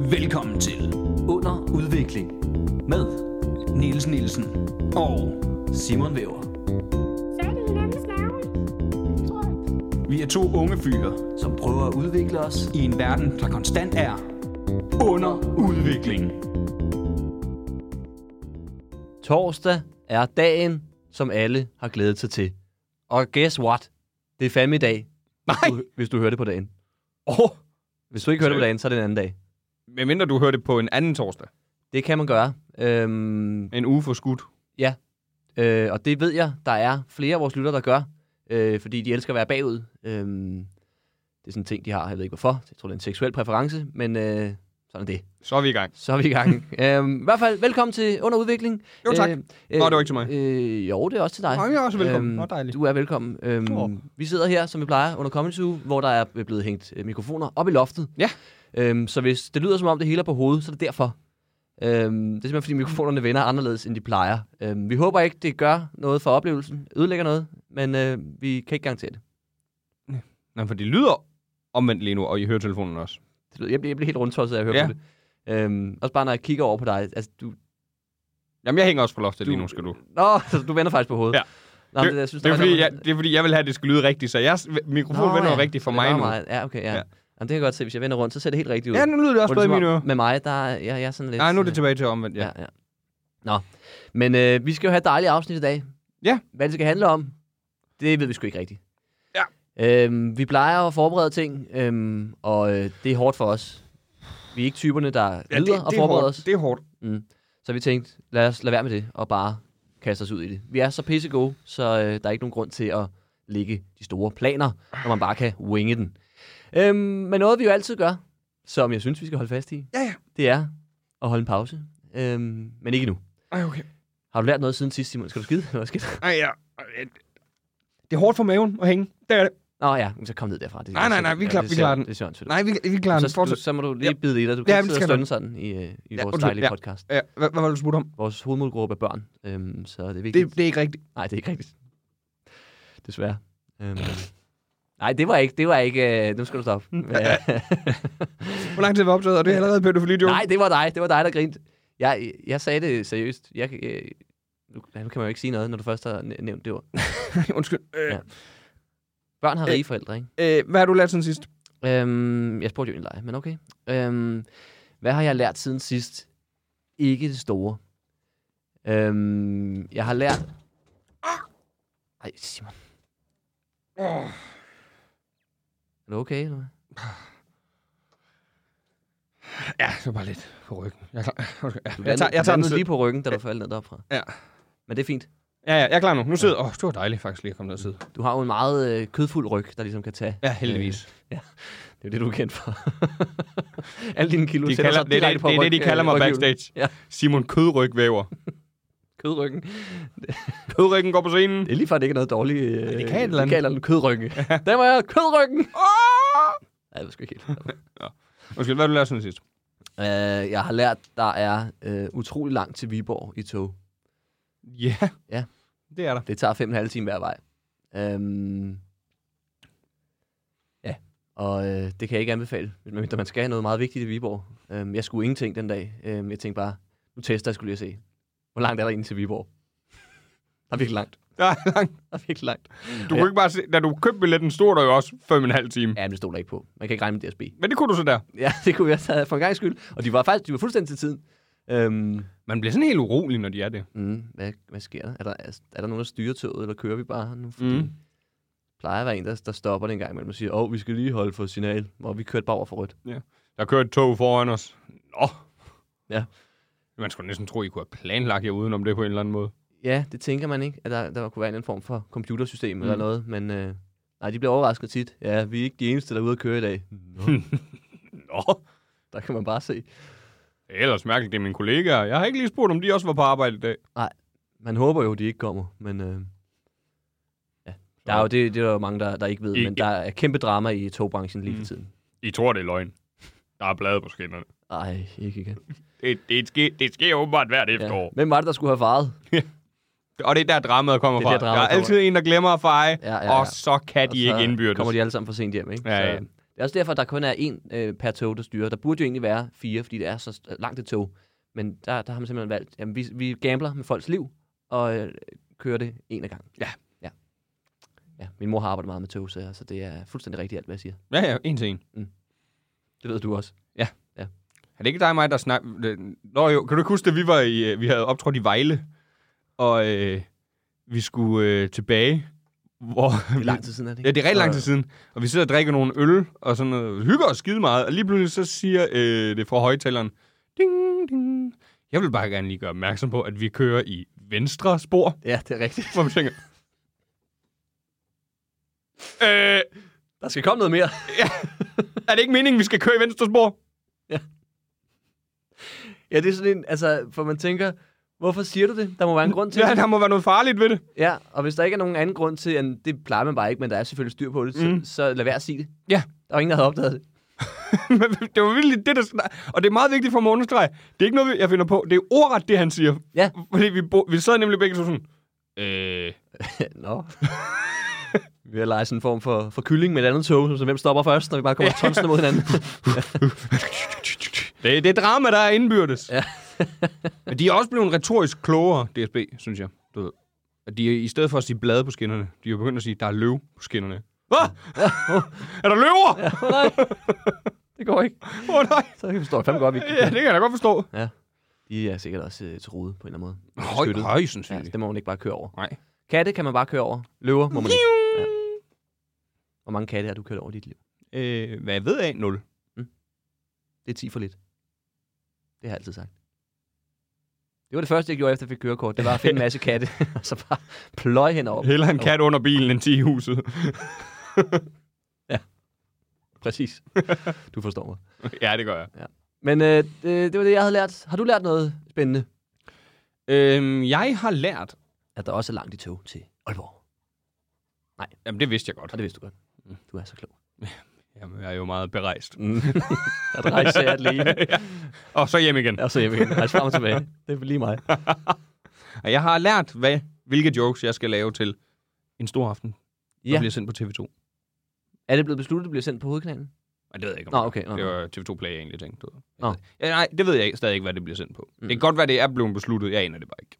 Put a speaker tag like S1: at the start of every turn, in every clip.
S1: Velkommen til Under Udvikling med Niels Nielsen og Simon Væver.
S2: Fat i hinandens nerve. Tror jeg.
S1: Vi er to unge fyre, som prøver at udvikle os i en verden, der konstant er under udvikling.
S3: Torsdag er dagen, som alle har glædet sig til. Og guess what? Det er fandme i dag, hvis
S4: Nej,
S3: du, hvis du hører det på dagen.
S4: oh,
S3: Hvis du ikke hører det på dagen, så er det en anden dag.
S4: medmindre du hører det på en anden torsdag.
S3: Det kan man gøre. Øhm,
S4: En uge for skudt.
S3: øh, og det ved jeg, der er flere af vores lytter, der gør, øh, fordi de elsker at være bagud. Øhm, det er sådan en ting, de har. Jeg ved ikke hvorfor. Jeg tror, det er en seksuel præference, men øh, sådan er det.
S4: Så er vi i gang.
S3: Så er vi i gang. øhm, I hvert fald, velkommen til Under Udvikling.
S4: Jo, tak.
S3: Øh,
S4: Nå, det var ikke til mig.
S3: Øh, jo, det er også til dig.
S4: Nå, jeg er også velkommen. Nå, dejligt.
S3: Du er velkommen. Øhm,
S4: Åh.
S3: Vi sidder her, som vi plejer, under Comedy Zoo, hvor der er blevet hængt øh, mikrofoner op i loftet.
S4: Ja.
S3: Øhm, så hvis det lyder, som om det hele er på hovedet, så er det derfor. Øhm, det er simpelthen, fordi mikrofonerne vender anderledes, end de plejer. Øhm, vi håber ikke, det gør noget for oplevelsen, ødelægger noget, men øh, vi kan ikke garantere det.
S4: Nå, for det lyder omvendt lige nu, og i høretelefonen også.
S3: det lyder, jeg, bliver, jeg bliver helt rundtosset af at høre
S4: Ja.
S3: på det. Øhm, også bare, når jeg kigger over på dig. Altså, du,
S4: Jamen, jeg hænger også på loftet
S3: Du-
S4: lige nu, skal du.
S3: Nå, så du vender faktisk på hovedet.
S4: Ja.
S3: Nå, det, det, jeg synes,
S4: det, er
S3: der
S4: fordi,
S3: noget-
S4: jeg, det er fordi, jeg vil have, at det skal lyde rigtigt, så jeg mikrofon vender jo rigtigt for
S3: det
S4: mig
S3: var
S4: nu.
S3: Meget. Ja, okay, ja. ja.
S4: Ja.
S3: Jamen, det kan jeg godt se. Hvis jeg vender rundt, så ser det helt rigtigt ud.
S4: Ja, nu lyder det også
S3: Hvor
S4: bedre
S3: det
S4: i mine
S3: som om-
S4: ører.
S3: Med mig, der er, jeg, jeg er sådan lidt...
S4: Nej, nu er
S3: øh,
S4: det tilbage til omvendt, ja.
S3: Ja, ja. Nå. Men øh, vi skal jo have et dejligt afsnit i dag.
S4: Ja.
S3: Hvad det skal handle om, det ved vi sgu ikke rigtigt.
S4: Ja.
S3: Øhm, vi plejer at forberede ting, øhm, og øh, det er hårdt for os. Vi er ikke typerne, der ja,
S4: Ja,
S3: lider og
S4: er
S3: forbereder
S4: hårdt.
S3: os.
S4: Det er hårdt.
S3: Så vi tænkte, lad os lade være med det, og bare kaste os ud i det. Vi er så pisse gode, så øh, der er ikke nogen grund til at lægge de store planer, når man bare kan winge den. Øhm, men noget, vi jo altid gør, som jeg synes, vi skal holde fast i,
S4: Ja, ja.
S3: det er at holde en pause. Øhm, men ikke nu.
S4: Ej, okay.
S3: Har du lært noget siden sidst, Simon? Skal du skide? Hvad skal du?
S4: Ej, ja. Ej, det- Det er hårdt for maven at hænge. Det er det.
S3: Nå ja, men så kom ned derfra. Det,
S4: Nej, nej, nej, vi klarer-
S3: det,
S4: vi
S3: ser-
S4: klarer den.
S3: Det er sjovt.
S4: Nej, vi, vi klarer den.
S3: Så, du,
S4: Fortsæt.
S3: så må du lige
S4: Ja.
S3: bide i dig. Du kan
S4: Ja,
S3: ja,
S4: det
S3: ikke sidde og
S4: skal
S3: stønne
S4: jeg
S3: sådan i, øh, i
S4: Ja,
S3: vores
S4: undskyld,
S3: dejlige
S4: ja.
S3: podcast.
S4: Ja, hvad, hvad var det, du spurgte om?
S3: Vores hovedmålgruppe er børn, øhm, så det er vigtigt.
S4: Det, det er ikke rigtigt.
S3: Nej, det er ikke rigtigt. Desværre. Øhm. Nej, det var ikke, det var ikke, øh, nu skal du stoppe. Ja.
S4: Hvor lang tid var optaget? Og det er allerede pædofili,
S3: Nej, det var dig, det var dig, der grinte. Jeg, jeg sagde det seriøst. Jeg, øh, nu, ja, nu kan man jo ikke sige noget, når du først har næ- nævnt det ord.
S4: Undskyld. Øh,
S3: Ja. Børn har
S4: Øh.
S3: rige forældre, ikke?
S4: øh, hvad har du lært siden sidst?
S3: Øhm, jeg spurgte jo egentlig dig, men okay. Øhm, hvad har jeg lært siden sidst? Ikke det store. Øhm, jeg har lært... Ej, Simon.
S4: Oh.
S3: Er du okay, eller hvad?
S4: Ja, det var bare lidt på ryggen. Jeg er klar. Undskyld. Ja,
S3: Du
S4: jeg tager, jeg tager den
S3: lige
S4: lige.
S3: på ryggen, da du faldt ned deropfra.
S4: Ja.
S3: Men det er fint.
S4: Ja, ja, jeg er klar nu. Nu sidder Åh, det var dejligt faktisk lige at komme ned og sidde.
S3: Du har jo en meget øh, kødfuld ryg, der ligesom kan tage.
S4: Ja, heldigvis.
S3: Det er jo det, du er kendt for. Alle dine kilo
S4: De
S3: sætter
S4: kalder,
S3: sig
S4: det, er
S3: direkte
S4: det,
S3: på
S4: det, er det, de
S3: ryg-
S4: kalder mig
S3: øh, ryghjulet.
S4: backstage.
S3: Ja.
S4: Simon Kødrygvæver.
S3: Kødryggen.
S4: Kødryggen går på scenen.
S3: Det er lige før, det ikke er noget dårligt. Øh,
S4: det kan et eller
S3: de
S4: andet.
S3: kalder den kødryggen. Der var jeg kødryggen.
S4: Åh!
S3: Nej, det var sgu ikke helt.
S4: Undskyld, hvad har du lært sådan sidst?
S3: Øh, jeg har lært, der er øh, utrolig langt til Viborg i tog.
S4: Ja.
S3: Ja.
S4: Det er der.
S3: Det tager fem og en halv time hver vej. Øhm, ja, og øh, det kan jeg ikke anbefale, medmindre man skal have noget meget vigtigt i Viborg. Øhm, jeg skulle ingenting den dag. Øhm, jeg tænkte bare, nu tester jeg skulle lige se, hvor langt er der ind til Viborg? Der er virkelig langt.
S4: Der er langt.
S3: Der er virkelig langt.
S4: Du kunne ikke bare se, da du købte billetten, stod der jo også fem og en halv time.
S3: Ja, men det stod der ikke på. Man kan ikke regne med DSB.
S4: Men det kunne du så der.
S3: Ja, det kunne vi også have for en gang skyld. Og de var faktisk de var fuldstændig til tiden. Øhm,
S4: Man bliver sådan helt urolig, når de er det.
S3: Mm, hvad, hvad sker der? Er, der? er der nogen, der styrer toget, eller kører vi bare nu? Fordi
S4: Mm.
S3: mm. plejer at være en, der, der stopper det en gang imellem og siger, åh, oh, vi skal lige holde for et signal, hvor vi kørte bare over for rødt.
S4: Der kører et tog foran os. Nå.
S3: Ja.
S4: Man skulle næsten tro, I kunne have planlagt jer udenom det på en eller anden måde.
S3: Ja, det tænker man ikke, at der, der kunne være en eller anden form for computersystem mm. eller
S4: Mm.
S3: noget, men øh, nej, de bliver overrasket tit. Ja, vi er ikke de eneste, der er ude at køre i dag. Nå,
S4: Nå.
S3: der kan man bare se.
S4: Det er ellers mærkeligt, det er mine kollegaer. Jeg har ikke lige spurgt, om de også var på arbejde i dag.
S3: Man håber jo, de ikke kommer, men øh, ja. Der er jo, det, det er der jo mange, der, der ikke ved,
S4: Ikke-
S3: men der er kæmpe drama i togbranchen lige for
S4: Mm.
S3: tiden.
S4: I tror, det er løgn. Der er blade på skinnerne.
S3: Ej, ikke igen.
S4: Det, det, sker, det sker åbenbart hvert
S3: Ja.
S4: efterår.
S3: Hvem var det, der skulle have faret?
S4: Ja. Og det er der, dramaet kommer
S3: Det er
S4: fra.
S3: der,
S4: Der,
S3: dramaet
S4: er altid en, der glemmer at feje,
S3: Ja,
S4: ja, ja. og så kan
S3: Og
S4: de
S3: så
S4: ikke indbyrdes.
S3: kommer de alle sammen for sent hjem, ikke?
S4: Ja, ja.
S3: Så, Det er også derfor, at der kun er én øh, per tog, der styrer. Der burde jo egentlig være fire, fordi det er så st- langt et tog. Men der, der har man simpelthen valgt, at vi, vi gambler med folks liv og øh, kører det en af gangen.
S4: Ja.
S3: ja. Ja, min mor har arbejdet meget med tog, så, så det er fuldstændig rigtigt alt, hvad jeg siger.
S4: Ja, ja, en til en.
S3: Det ved du også.
S4: Er det ikke dig og mig, der snak... Øh, Nå jo, kan du ikke huske, at vi, var i, øh, vi havde optrådt i Vejle, og øh, vi skulle øh, tilbage, hvor...
S3: Det er lang tid siden, er det ikke?
S4: Ja, det er rigtig lang tid siden. Og vi sidder og drikker nogle øl, og sådan noget, hygger os skide meget. Og lige pludselig så siger øh, det fra højtaleren, ding, ding. Jeg vil bare gerne lige gøre opmærksom på, at vi kører i venstre spor.
S3: Ja, det er rigtigt.
S4: Hvor man tænker, øh,
S3: Der skal komme noget mere.
S4: er det ikke meningen, vi skal køre i venstre spor?
S3: Ja, det er sådan en, altså, for man tænker, hvorfor siger du det? Der må være en grund til
S4: Ja,
S3: det.
S4: der må være noget farligt ved det.
S3: Ja, og hvis der ikke er nogen anden grund til, end det plejer man bare ikke, men der er selvfølgelig styr på det, mm.
S4: Mm.
S3: så, så lad være at sige det.
S4: Ja.
S3: Der var ingen, der havde opdaget det.
S4: Men det var virkelig det, der... snak- Og det er meget vigtigt for mig at understrege. Det er ikke noget, jeg finder på. Det er ordret, det han siger.
S3: Ja.
S4: Fordi vi, bo- vi sad nemlig begge to sådan... Øh,
S3: Nå. vi har leget sådan en form for, for kylling med et andet tog, så hvem stopper først, når vi bare kommer tonsende mod hinanden.
S4: det, det er drama, der er indbyrdes.
S3: Ja.
S4: Men de er også blevet retorisk klogere, DSB, synes jeg. Du ved. At de er, i stedet for at sige blade på skinnerne, de er begyndt at sige, der er løv på skinnerne. Hvad? er der løver?
S3: ja, oh, nej. Det går ikke.
S4: Åh oh, nej.
S3: Så kan vi forstå fandme godt, vi
S4: Ja, det kan jeg da godt forstå.
S3: De er sikkert også øh, til rode på en eller anden måde.
S4: Høj,
S3: Beskyttet.
S4: høj,
S3: Ja,
S4: sandsynligt.
S3: det må man ikke bare køre over.
S4: Nej.
S3: Katte kan man bare køre over. Løver må man ikke. Ja. Hvor mange katte har du kørt over i dit liv?
S4: Øh, hvad jeg ved af, 0.
S3: Det er 10 for lidt. Det har jeg altid sagt. Det var det første, jeg gjorde, efter jeg fik kørekort. Det var at finde en masse katte, og så bare pløje henover. dem.
S4: Heller en kat under bilen end 10 i huset.
S3: Præcis. Du forstår mig.
S4: ja, det gør jeg.
S3: Men øh, det, det var det, jeg havde lært. Har du lært noget spændende?
S4: Øhm, jeg har lært...
S3: At der også er langt i tog til Aalborg.
S4: Jamen, det vidste jeg godt.
S3: Og det vidste du godt. Mm, Du er så klog.
S4: Jamen, jeg er jo meget berejst.
S3: Mm. At rejse er alene,
S4: Og så hjem igen.
S3: og så hjem igen. Rejse frem og tilbage. Det er lige mig.
S4: Og jeg har lært, hvad, hvilke jokes jeg skal lave til en stor aften, der
S3: Ja.
S4: bliver sendt på TV2.
S3: Er det blevet besluttet, at det bliver sendt på hovedkanalen?
S4: Men det ved jeg ikke, om
S3: Nå,
S4: det
S3: okay,
S4: er.
S3: nå,
S4: det
S3: nå.
S4: var TV2 Play, jeg egentlig tænkte. du ved.
S3: Nå.
S4: Ja, nej, det ved jeg ikke, stadig ikke, hvad det bliver sendt på.
S3: Mm.
S4: Det kan godt være, det er blevet besluttet. Jeg aner det bare ikke.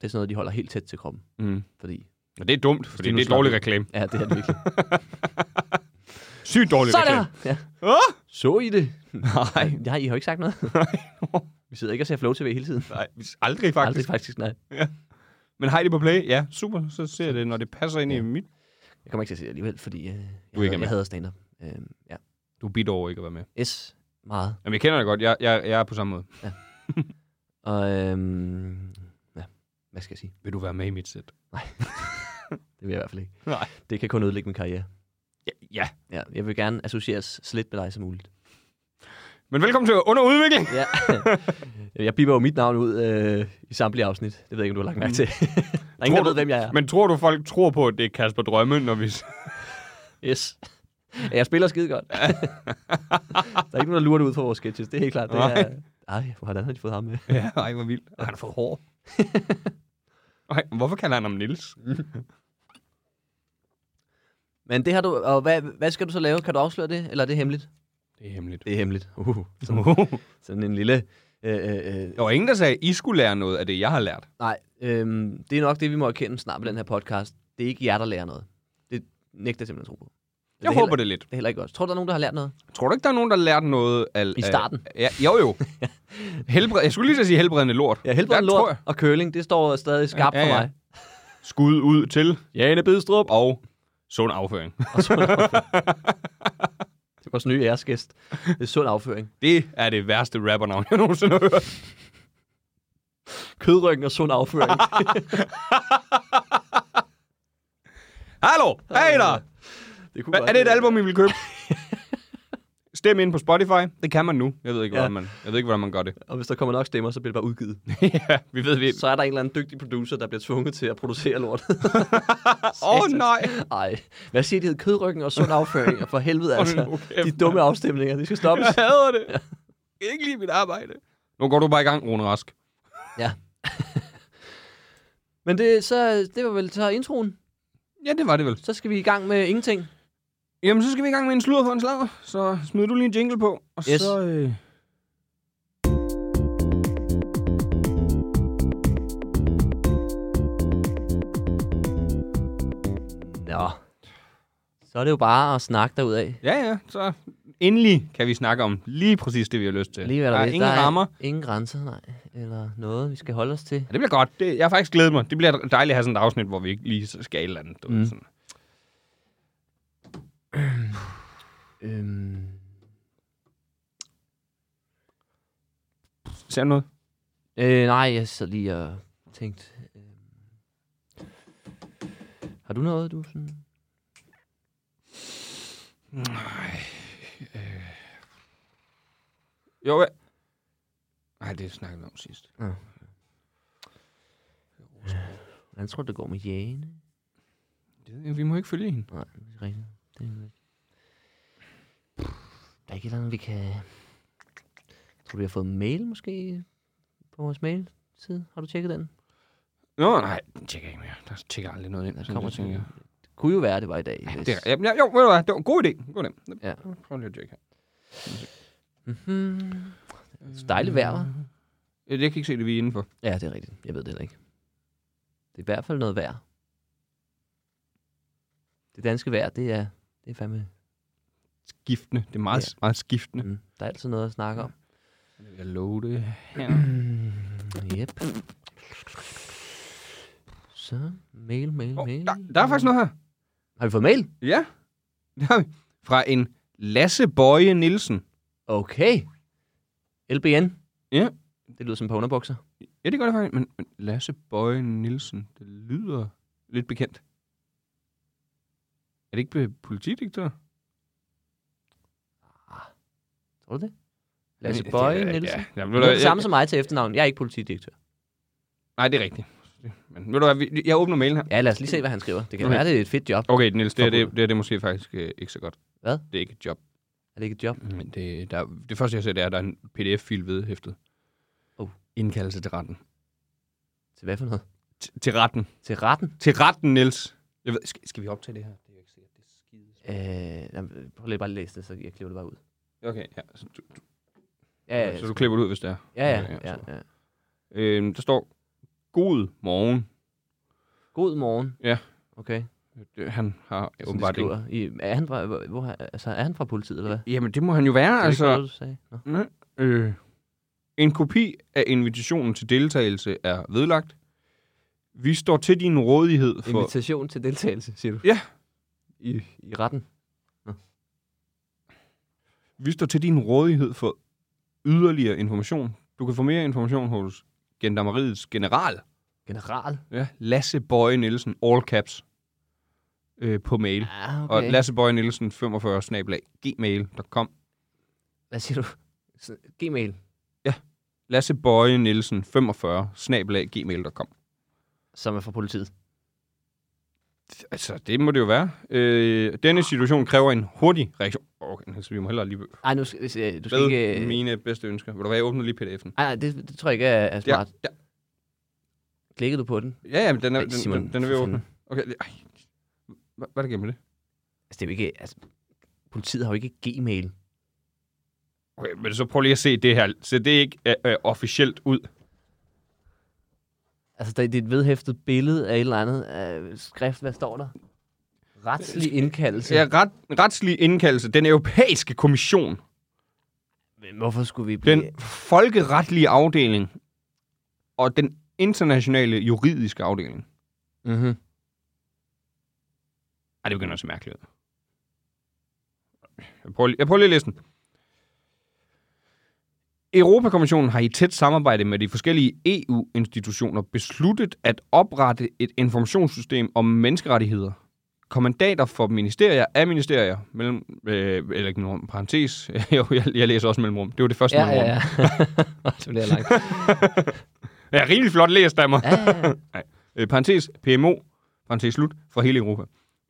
S3: Det er sådan noget, de holder helt tæt til kroppen.
S4: Mm.
S3: Fordi,
S4: Og det er dumt, fordi
S3: det nu
S4: det er
S3: slap
S4: dårlig
S3: ud.
S4: reklame.
S3: ja, det er det virkelig.
S4: Sygt dårlig
S3: Så der!
S4: reklame.
S3: Ja.
S4: Ah!
S3: Så I det?
S4: Nej,
S3: Nej, I har ikke sagt noget. vi sidder ikke og ser Flow TV hele tiden.
S4: nej, aldrig
S3: Faktisk.
S4: faktisk.
S3: Aldrig faktisk, nej.
S4: Men har I det på Play? Ja, super. Så ser jeg det, når det passer ind i mit...
S3: Jeg kommer ikke til at se det alligevel, fordi øh, jeg,
S4: er ikke
S3: hader,
S4: med.
S3: jeg hader stand-up. Øh, ja.
S4: Du er bitter over ikke at være med.
S3: S meget.
S4: Jamen, jeg kender det godt. Jeg, jeg, jeg er på samme måde.
S3: Og øhm, ja, hvad skal jeg sige?
S4: Vil du være med i mit sæt?
S3: Det vil jeg i hvert fald ikke.
S4: Nej.
S3: Det kan kun ødelægge min karriere.
S4: Ja, ja.
S3: Ja, jeg vil gerne associeres så lidt med dig som muligt.
S4: Men velkommen til Underudvikling.
S3: Ja. jeg biber jo mit navn ud øh, i samtlige afsnit. Det ved jeg ikke, om du har lagt mærke til. der er ingen,
S4: Tror
S3: der
S4: du-
S3: ved, hvem jeg er.
S4: Men tror du, folk tror på, at det er Kasper Drømme, når vi...
S3: Yes. Ja, Jeg spiller skide godt. der er ikke nogen, der lurer det ud fra vores sketches. Det er helt klart. Det
S4: Nej.
S3: er... Ej, hvordan har de fået ham med?
S4: ja, ej, hvor vildt. Han har fået hår. Ej, hvorfor kalder han ham Nils?
S3: Men det har du, og hvad, hvad skal du så lave? Kan du afsløre det, eller er det hemmeligt?
S4: Det er hemmeligt.
S3: Det er hemmeligt. Uh, sådan,
S4: Uh.
S3: sådan en lille... Øh, øh, øh,
S4: Der var ingen, der sagde, at I skulle lære noget af det, jeg har lært.
S3: nej, øh, det er nok det, vi må erkende snart med den her podcast. Det er ikke jer, der lærer noget. Det nægter jeg simpelthen at tro på. Det
S4: Jeg
S3: er
S4: det håber
S3: heller,
S4: det lidt.
S3: det. er heller ikke godt. Tror du, der er nogen, der har lært noget?
S4: Tror du ikke, der er nogen, der har lært noget af...
S3: I starten.
S4: Af, ja, jo, jo. Helbred, jeg skulle lige til at sige helbredende lort.
S3: Ja, helbred
S4: Der
S3: lort
S4: tror jeg.
S3: og curling, det står stadig skarpt
S4: Ja, ja,
S3: for
S4: ja.
S3: mig.
S4: Skud ud til
S3: Jane Bidstrup.
S4: og sund afføring.
S3: Og sund afføring. det er vores nye æresgæst. Det er sund afføring.
S4: Det er det værste rappernavn, jeg nogensinde har hørt.
S3: Kødryggen og sund afføring.
S4: Hallo! Hey der!
S3: det kunne
S4: Hva,
S3: godt
S4: er det et
S3: være.
S4: album, I vil købe? Stem ind på Spotify. Det kan man nu. Jeg ved ikke,
S3: Ja.
S4: hvordan, man, jeg ved ikke, hvordan man gør det.
S3: Og hvis der kommer nok stemmer, så bliver det bare udgivet.
S4: ja, vi ved, vi...
S3: Så er der en eller anden dygtig producer, der bliver tvunget til at producere lort.
S4: Åh, oh, nej!
S3: Ej, hvad siger de hed? Kødryggen og sund afføring. Og For helvede altså.
S4: nu kæft,
S3: De dumme afstemninger, de skal stoppes.
S4: Jeg hader det. Jeg kan ikke lide mit arbejde. Nu går du bare i gang, Rune Rask.
S3: Men det, så, det var vel så introen.
S4: Ja, det var det vel.
S3: Så skal vi i gang med ingenting.
S4: Jamen, så skal vi i gang med en sludder for en slader. Så smider du lige en jingle på, og
S3: Yes.
S4: så... Øh...
S3: Nå. Så er det jo bare at snakke derudad.
S4: Ja, ja, så endelig kan vi snakke om lige præcis det, vi har lyst til.
S3: Lige hvad
S4: der
S3: der,
S4: er
S3: vil.
S4: ingen
S3: der
S4: rammer.
S3: Er ingen grænser, nej. Eller noget, vi skal holde os til.
S4: Ja, det bliver godt. Det, jeg har faktisk glædet mig. Det bliver dejligt at have sådan et afsnit, hvor vi ikke lige skal et eller andet. Du mm.
S3: Mm.
S4: ved, sådan.
S3: Øhm,
S4: Ser du noget?
S3: øh, nej, jeg sad lige og tænkte... Øh, har du noget, du sådan...
S4: øh. Jo, ja. Nej, det snakkede vi om sidst.
S3: Hvordan tror du, det går med Jane?
S4: Det ved jeg, Vi må ikke følge hende.
S3: Nej, det er ikke rigtigt. Det er ikke. Der er ikke et eller andet, vi kan... Jeg tror, vi har fået en mail måske på vores mail-side. Har du tjekket den?
S4: Nå, nej, den tjekker jeg ikke mere. Der tjekker aldrig noget ind. altså.
S3: Den
S4: sådan
S3: kommer
S4: noget, tænker
S3: til.
S4: jeg.
S3: Det kunne jo være, det var i dag.
S4: Ja, det er, ja, jo, ved du hvad, det var en god idé. God idé.
S3: Ja.
S4: Prøv lige at tjekke her.
S3: Mm-hmm. Så dejligt vejr, hva'?
S4: Øh, Jeg kan ikke se det, vi er indenfor.
S3: Ja, det er rigtigt. Jeg ved det heller ikke. Det er i hvert fald noget værd. Det danske vejr, det er, det er fandme...
S4: Skiftende. Det er meget,
S3: Ja.
S4: ja. meget skiftende.
S3: Mm, der er altid noget at snakke om.
S4: Jeg lover det. Ja.
S3: Yep. Så, mail, mail,
S4: Oh,
S3: mail.
S4: der, der er faktisk noget her.
S3: Har vi fået mail?
S4: Ja. Det har vi. Fra en Lasse Bøje Nielsen.
S3: Okay. LBN.
S4: Ja.
S3: Det lyder som ponerbokser.
S4: Ja, det gør det faktisk. Men, men Lasse Bøje Nielsen, det lyder lidt bekendt. Er det ikke øh, politidirektør?
S3: Tror du det? Lasse
S4: Jamen,
S3: Bøje
S4: det er-
S3: Nielsen.
S4: Ja, ja.
S3: Det
S4: Ved du,
S3: er det samme
S4: jeg,
S3: som mig til efternavn. Jeg er ikke politidirektør.
S4: nej, det er rigtigt. Men ved du hvad, vi- jeg åbner mailen her.
S3: Ja, lad os lige se, hvad han skriver. Det kan
S4: Okay.
S3: være, det er et fedt job.
S4: Okay, Niels, det, er- det, er-
S3: Forbud.
S4: det, er- det er måske faktisk øh, ikke så godt.
S3: Hvad?
S4: Det er ikke et job.
S3: Er det ikke et job?
S4: Men det, der, det første, jeg ser, det er, at der er en pdf-fil vedhæftet.
S3: Oh.
S4: Indkaldelse til retten.
S3: Til hvad for noget?
S4: T- til retten.
S3: Til retten?
S4: Til retten, Niels. Jeg ved, skal, skal vi optage det her? Det er jo ikke sikkert, det er skide.
S3: Øh, jamen, prøv lige bare at læse det, så jeg klipper det bare ud.
S4: Okay, ja. Så du,
S3: Ja, ja,
S4: så du klipper det ud, hvis det er.
S3: ja,
S4: Okay,
S3: ja, ja,
S4: så.
S3: ja.
S4: Øhm, der står, god morgen.
S3: God morgen.
S4: Ja.
S3: Okay.
S4: Det, han har
S3: Som de
S4: åbenbart ikke.
S3: skriver. I, er, han fra, hvor, hvor, altså, er han fra politiet, eller hvad?
S4: Jamen, det må han jo være,
S3: Det er ikke
S4: altså.
S3: noget, du sagde. Nå.
S4: Nej. Øh. En kopi af invitationen til deltagelse er vedlagt. Vi står til din rådighed for...
S3: Invitation til deltagelse, siger du?
S4: Ja.
S3: I, I retten?
S4: Vi står til din rådighed for yderligere information. Du kan få mere information hos Gendarmeriets general,
S3: General?
S4: ja, Lasse Bøje Nielsen, all caps, øh, på mail. Okay.
S3: Ja,
S4: Og
S3: Ah, okay.
S4: Lasse Bøje Nielsen 45 snablag, gmail.com.
S3: Hvad siger du? Så, Gmail.
S4: Lasse Bøje Nielsen 45 snablag, gmail.com.
S3: som er fra politiet.
S4: Altså, det må det jo være. Øh, denne situation kræver en hurtig reaktion. Okay, altså, vi må hellere lige...
S3: Nej, nu skal, øh, du skal
S4: Hvad
S3: ikke... øh,
S4: mine bedste ønsker? Vil du være, jeg åbner lige pdf'en.
S3: Nej, nej, det, det tror jeg ikke er, er
S4: Ja,
S3: smart. Ja.
S4: ja,
S3: Klikkede du på den?
S4: ja, ja men den er,
S3: Ej,
S4: den,
S3: Simon,
S4: den, den er ved
S3: for
S4: at
S3: fanden.
S4: åbne. Okay, det- ej. Hvad hvad er der gennem det?
S3: Altså, det er jo ikke... Altså, politiet har jo ikke Gmail.
S4: Okay, men så prøv lige at se det her. Se det ikke øh, øh, officielt ud.
S3: Altså, der, det er et vedhæftet billede af et eller andet øh, skrift. Hvad står der? Retslig indkaldelse.
S4: Ja, ret, retslig indkaldelse. Den europæiske kommission.
S3: Men Hvorfor skulle vi blive...
S4: Den folkeretlige afdeling. Og den internationale juridiske afdeling.
S3: Mm-hmm.
S4: Ej, det begynder at se mærkeligt ud. Jeg prøver, lige- jeg prøver lige at læse den. Europakommissionen har i tæt samarbejde med de forskellige EU-institutioner besluttet at oprette et informationssystem om menneskerettigheder. Kommandater for ministerier er ministerier, mellem, øh, eller ikke nogen parentes, jo, jeg, jeg læser også mellemrum. Det var det første
S3: Ja, ja,
S4: mellemrum.
S3: ja. det bliver langt.
S4: Ja, rimelig flot læst af mig.
S3: Ja, ja, ja.
S4: øh, parentes PMO, parentes slut, fra hele Europa.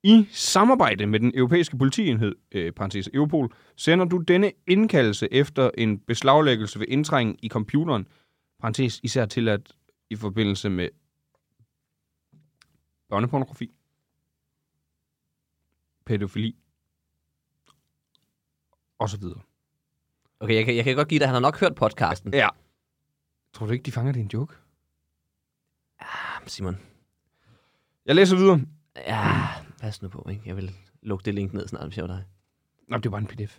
S4: I samarbejde med den europæiske politienhed, øh, parentes Europol, sender du denne indkaldelse efter en beslaglæggelse ved indtrængen i computeren, parentes især tilladt i forbindelse med børnepornografi, pædofili og så videre.
S3: Okay, jeg kan, jeg kan godt give dig, at han har nok hørt podcasten.
S4: Ja. Tror du ikke, de fanger din joke?
S3: Jamen, Simon.
S4: Jeg læser videre.
S3: Ja, pas nu på, ikke? Jeg vil lukke det link ned snart, hvis jeg var dig.
S4: Nå, det er bare en pdf.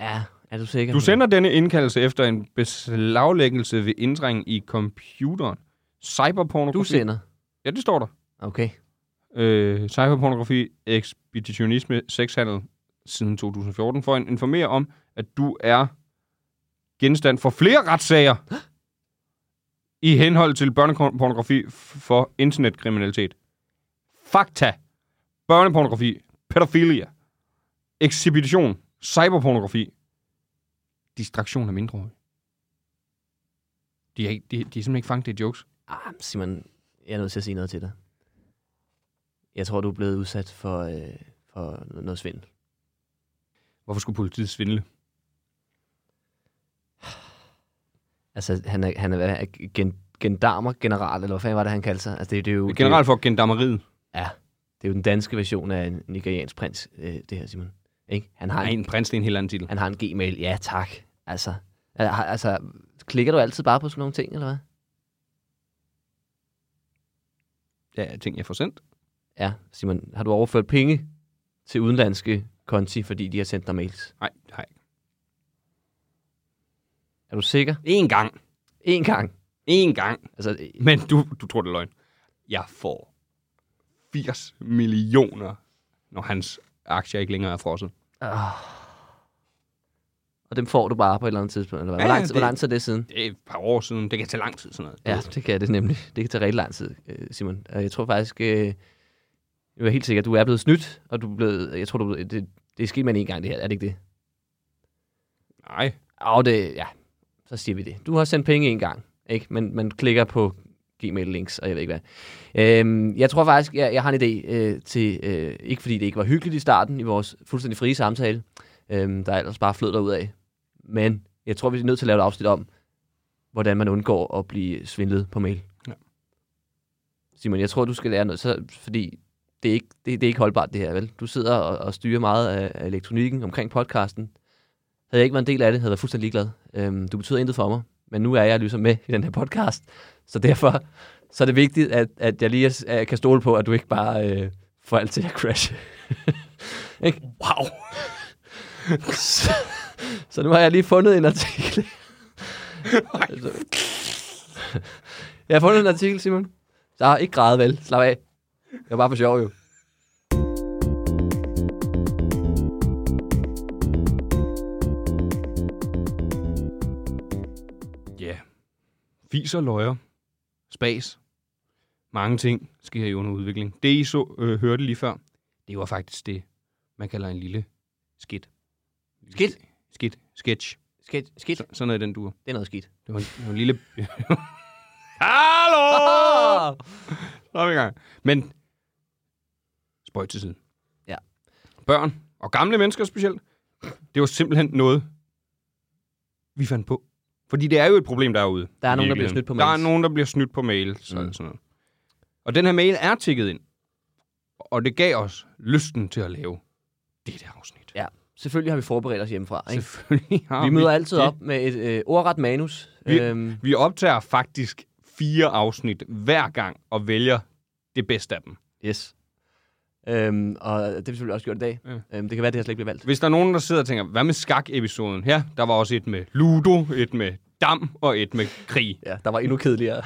S3: Ja, er du sikker?
S4: Du sender denne indkaldelse efter en beslaglæggelse ved indtrængen i computeren. Cyberpornografi.
S3: Du sender.
S4: Ja, det står der.
S3: Okay.
S4: øh, cyberpornografi, ekspeditionisme, sexhandel siden 2014, for at informere om, at du er genstand for flere retssager i henhold til børnepornografi f- for internetkriminalitet. Fakta. Børnepornografi, pædofilia, ekshibidation, cyberpornografi, distraktion af mindreårige. De er, ikke, de, de er simpelthen ikke fanget i jokes.
S3: Ah, Simon, jeg er nødt til at sige noget til dig. Jeg tror, du er blevet udsat for, øh, for noget svindel.
S4: Hvorfor skulle politiet svindle?
S3: Altså, han er, han er, hvad er gen, gendarmer, general, eller hvad fanden var det, han kaldte sig? Altså, det, det er jo,
S4: Generelt for gendarmeriet.
S3: Det, er jo den danske version af en nigeriansk prins, øh, det her, Simon. Ikke? Han, har
S4: Nej,
S3: en,
S4: en prins, det er en helt anden titel.
S3: han har en gmail. Ja, tak. Altså, al- har- altså, klikker du altid bare på sådan nogle ting, eller hvad?
S4: Ja, ting, jeg får sendt.
S3: Ja, Simon, har du overført penge til udenlandske konti, fordi de har sendt dig mails?
S4: Nej, nej.
S3: Er du sikker?
S4: En gang.
S3: En gang.
S4: En gang.
S3: Altså,
S4: Men du, du tror, det er løgn. Jeg får 80 millioner, når hans aktier ikke længere er frosset.
S3: øh, og dem får du bare på et eller andet tidspunkt, eller hvad? Hvor
S4: Ja,
S3: lang, tid- hvor
S4: det-
S3: lang tid er det siden?
S4: Det er et par år siden. Det kan tage lang tid, sådan noget.
S3: Ja, det kan det nemlig. Det kan tage rigtig lang tid, øh, Simon. Og Jeg tror faktisk, øh, jeg er helt sikker, at du er blevet snydt, og du er blevet, jeg tror, du er blevet, det, det er sket med en gang, det her. Er det ikke det?
S4: Nej.
S3: Og det, ja, så siger vi det. Du har sendt penge en gang, ikke? Men man klikker på Gmail-links, og jeg ved ikke hvad. Øhm, jeg tror faktisk, jeg, jeg har en idé øh, til, øh, ikke fordi det ikke var hyggeligt i starten, i vores fuldstændig frie samtale, øhm, der er ellers bare flød derud af. Men jeg tror, vi er nødt til at lave et afsnit om, hvordan man undgår at blive svindlet på mail.
S4: Ja.
S3: Simon, jeg tror, du skal lære noget, så, fordi det er, ikke, det, det er ikke holdbart det her, vel? Du sidder og, og styrer meget af, af elektronikken omkring podcasten. Havde jeg ikke været en del af det, havde jeg været fuldstændig ligeglad. Øhm, du betyder intet for mig, men nu er jeg ligesom med i den her podcast, så derfor så er det vigtigt, at, at jeg lige er, kan stole på, at du ikke bare øh, får alt til at crashe. ikke? Wow! så, så nu har jeg lige fundet en artikel. Altså- jeg har fundet en artikel, Simon. Så har ikke grædet vel. Slap af. Det var bare for sjov, jo.
S4: Ja. Fiser, løjer, spas. Mange ting sker i under udvikling. Det, I så, øh, hørte lige før, det var faktisk det, man kalder en lille skidt.
S3: Skidt?
S4: Skidt. Sketch.
S3: Skidt, skidt.
S4: Så, sådan noget i den dur.
S3: Det er noget skidt.
S4: Det var en, det var en lille... Hallo!
S3: Ah!
S4: Så er vi i gang. Men spøjt til siden.
S3: Ja.
S4: Børn og gamle mennesker specielt, det var simpelthen noget, vi fandt på. Fordi det er jo et problem derude.
S3: Der er
S4: i
S3: nogen, der bliver
S4: virkeligheden.
S3: snydt på
S4: Der er
S3: mails.
S4: nogen, der bliver snydt på mail. Sådan,
S3: Mm.
S4: mm. sådan noget. Og den her mail er tækket ind. Og det gav os lysten til at lave det der afsnit.
S3: Ja, selvfølgelig har vi forberedt os hjemmefra. Ikke?
S4: Selvfølgelig har
S3: Vi møder altid
S4: Ah, det.
S3: op med et øh, ordret manus.
S4: Vi-
S3: Øhm,
S4: Vi optager faktisk fire afsnit hver gang og vælger det bedste af dem.
S3: yes. Øhm, og det har vi selvfølgelig også gjort i dag.
S4: Ja.
S3: Øhm, det kan være, det her slet ikke bliver valgt.
S4: Hvis der er nogen, der sidder og tænker, hvad med skak-episoden? Ja, der var også et med Ludo, et med dam og et med krig.
S3: Ja, der var endnu kedeligere.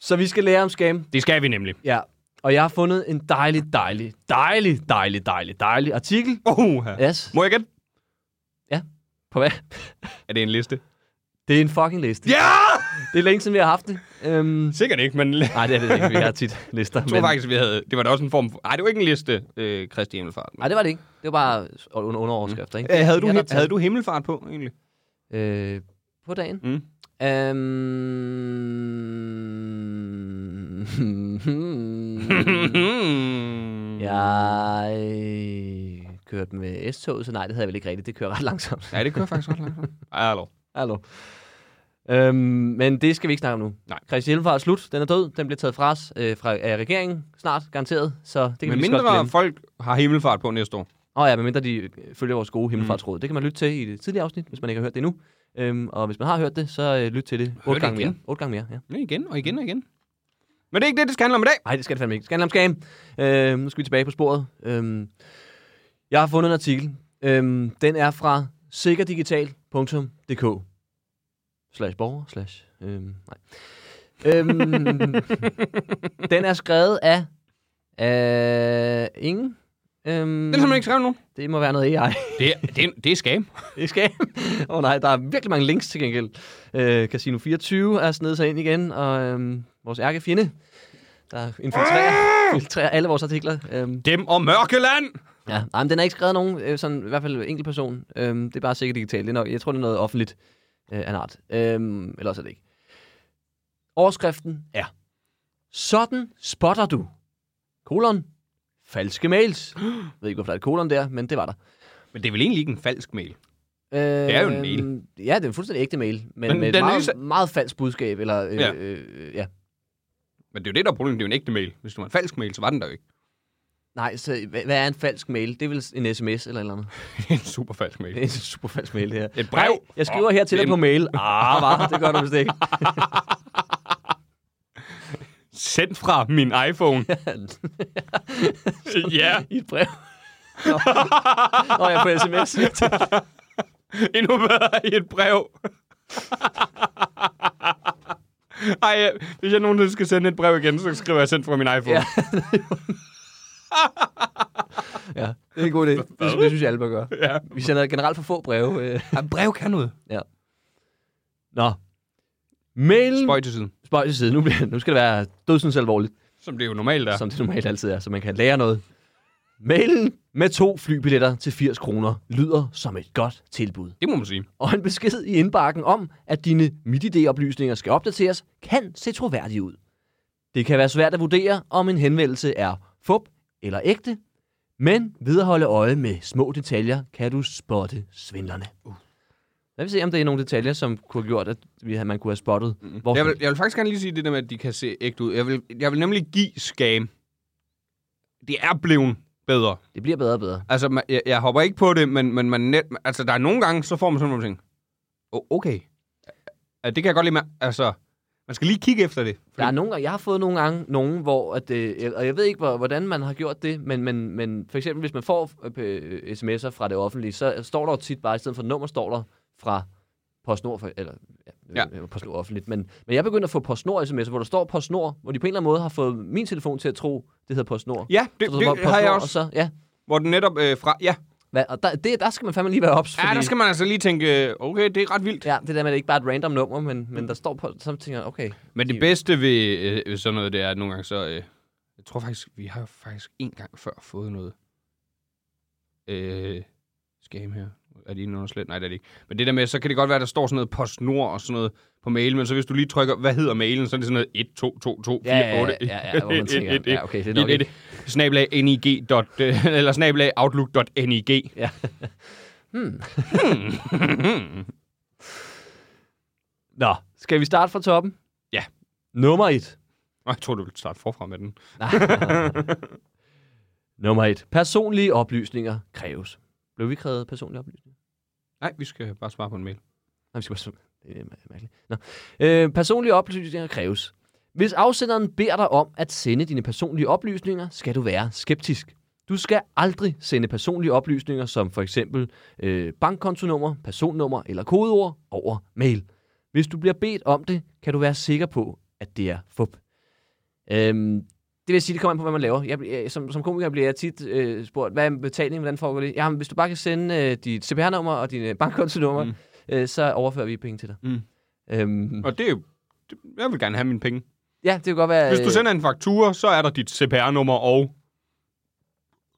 S3: Så vi skal lære om scam.
S4: Det skal vi nemlig.
S3: Ja, og jeg har fundet en dejlig, dejlig, dejlig, dejlig, dejlig, dejlig artikel.
S4: Oh,
S3: Yes.
S4: Må jeg gætte?
S3: På hvad?
S4: Er det en liste?
S3: Det er en fucking liste.
S4: Ja!
S3: Det er længe siden, vi har haft det. Øhm,
S4: Sikkert ikke, men jeg
S3: nej, det er det ikke. Vi har tit lister.
S4: tror faktisk, vi havde... Det var da også en form for... Nej, det var ikke en liste, øh, Kristi Himmelfart.
S3: Nej, det var det ikke. Det var bare under, underoverskrifter, ikke?
S4: Æh, havde, du,
S3: Jeg har
S4: he- havde du Himmelfart på, egentlig?
S3: Øh, på dagen?
S4: Mm.
S3: Øhm...
S4: Mm.
S3: jeg kørte med S-toget, så nej, det havde jeg vel ikke rigtigt. Det kører ret langsomt.
S4: Ja, det kører faktisk ret langt. Ej, hallo.
S3: Hallo. Øhm, men det skal vi ikke snakke om nu.
S4: Nej.
S3: Christi Hjelmfart er slut. Den er død. Den bliver taget fra os øh, fra, af regeringen snart, garanteret. Så det kan
S4: Men
S3: vi lige så godt
S4: mindre
S3: glemme.
S4: folk har himmelfart på næste år.
S3: Åh oh ja, medmindre de øh, følger vores gode himmelfartsråd. Det kan man lytte til i det tidligere afsnit, hvis man ikke har hørt det endnu. Øhm, og hvis man har hørt det, så øh, lyt til det otte
S4: det
S3: gange mere.
S4: igen.
S3: Otte gange mere, ja.
S4: Ja, igen og igen og igen. Men det er ikke det, det skal handle om i dag.
S3: Nej, det skal det fandme ikke. Skandal om skam. Øhm, nu skal vi tilbage på sporet. Øhm, jeg har fundet en artikel. Øhm, den er fra sikkerdigital.dk slash borger slash... Øhm, nej. Øhm, den er skrevet af... af ingen. Øhm,
S4: Det er simpelthen ikke skrevet nu.
S3: det må være noget AI.
S4: Mm. Det er, det, er- det er skam.
S3: Det skal Åh oh, nej, der er virkelig mange links til gengæld. Øh, Casino 24 er snedet sig ind igen, og øhm, vores ærkefjende, der infiltrerer, infiltrerer alle vores artikler. Øhm,
S4: Dem og Mørkeland!
S3: ja, nej, men den er ikke skrevet af nogen, øh, sådan, i hvert fald enkelt person. Øhm, det er bare sikkert digitalt. Det er nok, jeg tror, det er noget offentligt øh, af en art. Øhm, eller også er det ikke. Overskriften er, sådan spotter du, kolon, falske mails. Jeg ved ikke, hvorfor der er et kolon der, men det var der.
S4: Men det er vel egentlig ikke en falsk mail.
S3: Øh,
S4: er jo en mail.
S3: Øhm, Ja, det er en fuldstændig ægte mail, men, men
S4: Men
S3: med et
S4: den er
S3: meget,
S4: ligesom-
S3: meget falsk budskab. Eller, øh, ja.
S4: Ja.
S3: Øh, ja.
S4: Men det er jo det, der er problemet. Det er jo en ægte mail. Hvis det var en falsk mail, så var den der jo ikke.
S3: Nej, så hvad, hvad er en falsk mail? Det er vel en sms eller et eller andet.
S4: Det er en super falsk mail.
S3: Det er en super falsk mail, det her.
S4: Et brev.
S3: Nej, jeg skriver her til dig
S4: en-
S3: på mail. Ah, var, det gør du vist ikke.
S4: Sendt fra min iPhone. ja,
S3: I et brev. Nå, Nå jeg er på sms.
S4: endnu bedre i et brev. Ej, ja, hvis jeg nogensinde skal sende et brev igen, så skriver jeg sendt fra min iPhone.
S3: Ja. ja, det er en god idé. Det, det synes jeg, alle bør gøre.
S4: Ja.
S3: Vi sender generelt for få breve. Øh.
S4: ja. brev kan noget.
S3: Nå. Mailen...
S4: Spøj til siden.
S3: Spøj til side. Nu, bliver, nu skal det være dødsens alvorligt.
S4: Som det jo normalt er.
S3: som det normalt altid er, så man kan lære noget. Mailen med to flybilletter til 80 kroner lyder som et godt tilbud.
S4: Det må man sige.
S3: Og en besked i indbakken om, at dine MitID-oplysninger skal opdateres, kan se troværdig ud. Det kan være svært at vurdere, om en henvendelse er fup eller ægte, men ved at holde øje med små detaljer, kan du spotte svindlerne. Lad os se, om det er nogle detaljer, som kunne have gjort, at vi havde- man kunne have spottet. Hvor...
S4: Jeg vil, jeg vil faktisk gerne lige sige det der med, at de kan se ægte ud. Jeg vil, jeg vil nemlig give scam. Det er blevet bedre.
S3: Det bliver bedre og bedre.
S4: Altså, man, jeg, jeg hopper ikke på det, men, men man net, altså, der er nogle gange, så får man sådan nogle ting. Oh, okay. Ja, det kan jeg godt lide med. Altså, man skal lige kigge efter det.
S3: Der er nogle gange, jeg har fået nogle gange nogen, hvor, at, øh, og jeg ved ikke, hvor- hvordan man har gjort det, men, men, men for eksempel, hvis man får øh, sms'er fra det offentlige, så står der jo tit bare, i stedet for nummer, står der fra PostNord, for, eller ja, ja. PostNord offentligt, men, men jeg begynder at få PostNord sms'er, hvor der står PostNord, hvor de på en eller anden måde har fået min telefon til at tro, det hedder PostNord.
S4: Ja, det,
S3: så,
S4: det,
S3: så var
S4: det har jeg
S3: PostNord, Og
S4: også.
S3: så, ja,
S4: Hvor den netop øh, fra... Ja,
S3: hvad, og der, det, der skal man fandme lige være ops,
S4: fordi... ja, der skal man altså lige tænke, øh, okay, det er ret vildt.
S3: ja, det der med, at det ikke bare er et random nummer, men, men der står på, så tænker jeg, okay,
S4: Men det bedste ved, øh, ved sådan noget, det er, at nogle gange så... Øh, jeg tror faktisk, vi har faktisk en gang før fået noget øh, scam her. Er det inde under slet? Nej, det er det ikke. Men det der med, så kan det godt være, at der står sådan noget PostNord og sådan noget på mailen, men så hvis du lige trykker, hvad hedder mailen, så er det sådan noget 1, 2, 2, 2, 4,
S3: Ja, ja, ja,
S4: 8.
S3: ja, ja, hvor man tænker, ja, okay, det er nok ikke.
S4: Snablag nig. Dot, øh, eller snablag outlook.nig.
S3: Ja. hmm. Nå, skal vi starte fra toppen?
S4: Ja.
S3: Nummer et.
S4: Nå, Jeg tror du ville starte forfra med den.
S3: Nummer et. Personlige oplysninger kræves. Blev vi krævet personlige oplysninger?
S4: Nej, vi skal bare svare på en mail.
S3: Nej, vi skal bare... så- Det er mær- mærkeligt. Nå. Øh, personlige oplysninger kræves. Hvis afsenderen beder dig om at sende dine personlige oplysninger, skal du være skeptisk. Du skal aldrig sende personlige oplysninger som for eksempel øh, bankkontonummer, personnummer eller kodeord over mail. Hvis du bliver bedt om det, kan du være sikker på, at det er fup. Øhm, det vil sige, det kommer an på, hvad man laver. Jeg, bliver- jeg, som, som komiker bliver jeg tit øh, spurgt, hvad er betaling, hvordan foregår det? Jamen, hvis du bare kan sende øh, dit CPR-nummer og dine bankkontonummer, mm.
S4: Mm.
S3: øh, så overfører vi penge til dig.
S4: Mm.
S3: Øhm,
S4: Og det er jo... det- Jeg vil gerne have mine penge.
S3: ja, det kan godt være...
S4: Hvis du
S3: øh,
S4: sender en faktura, så er der dit CPR-nummer og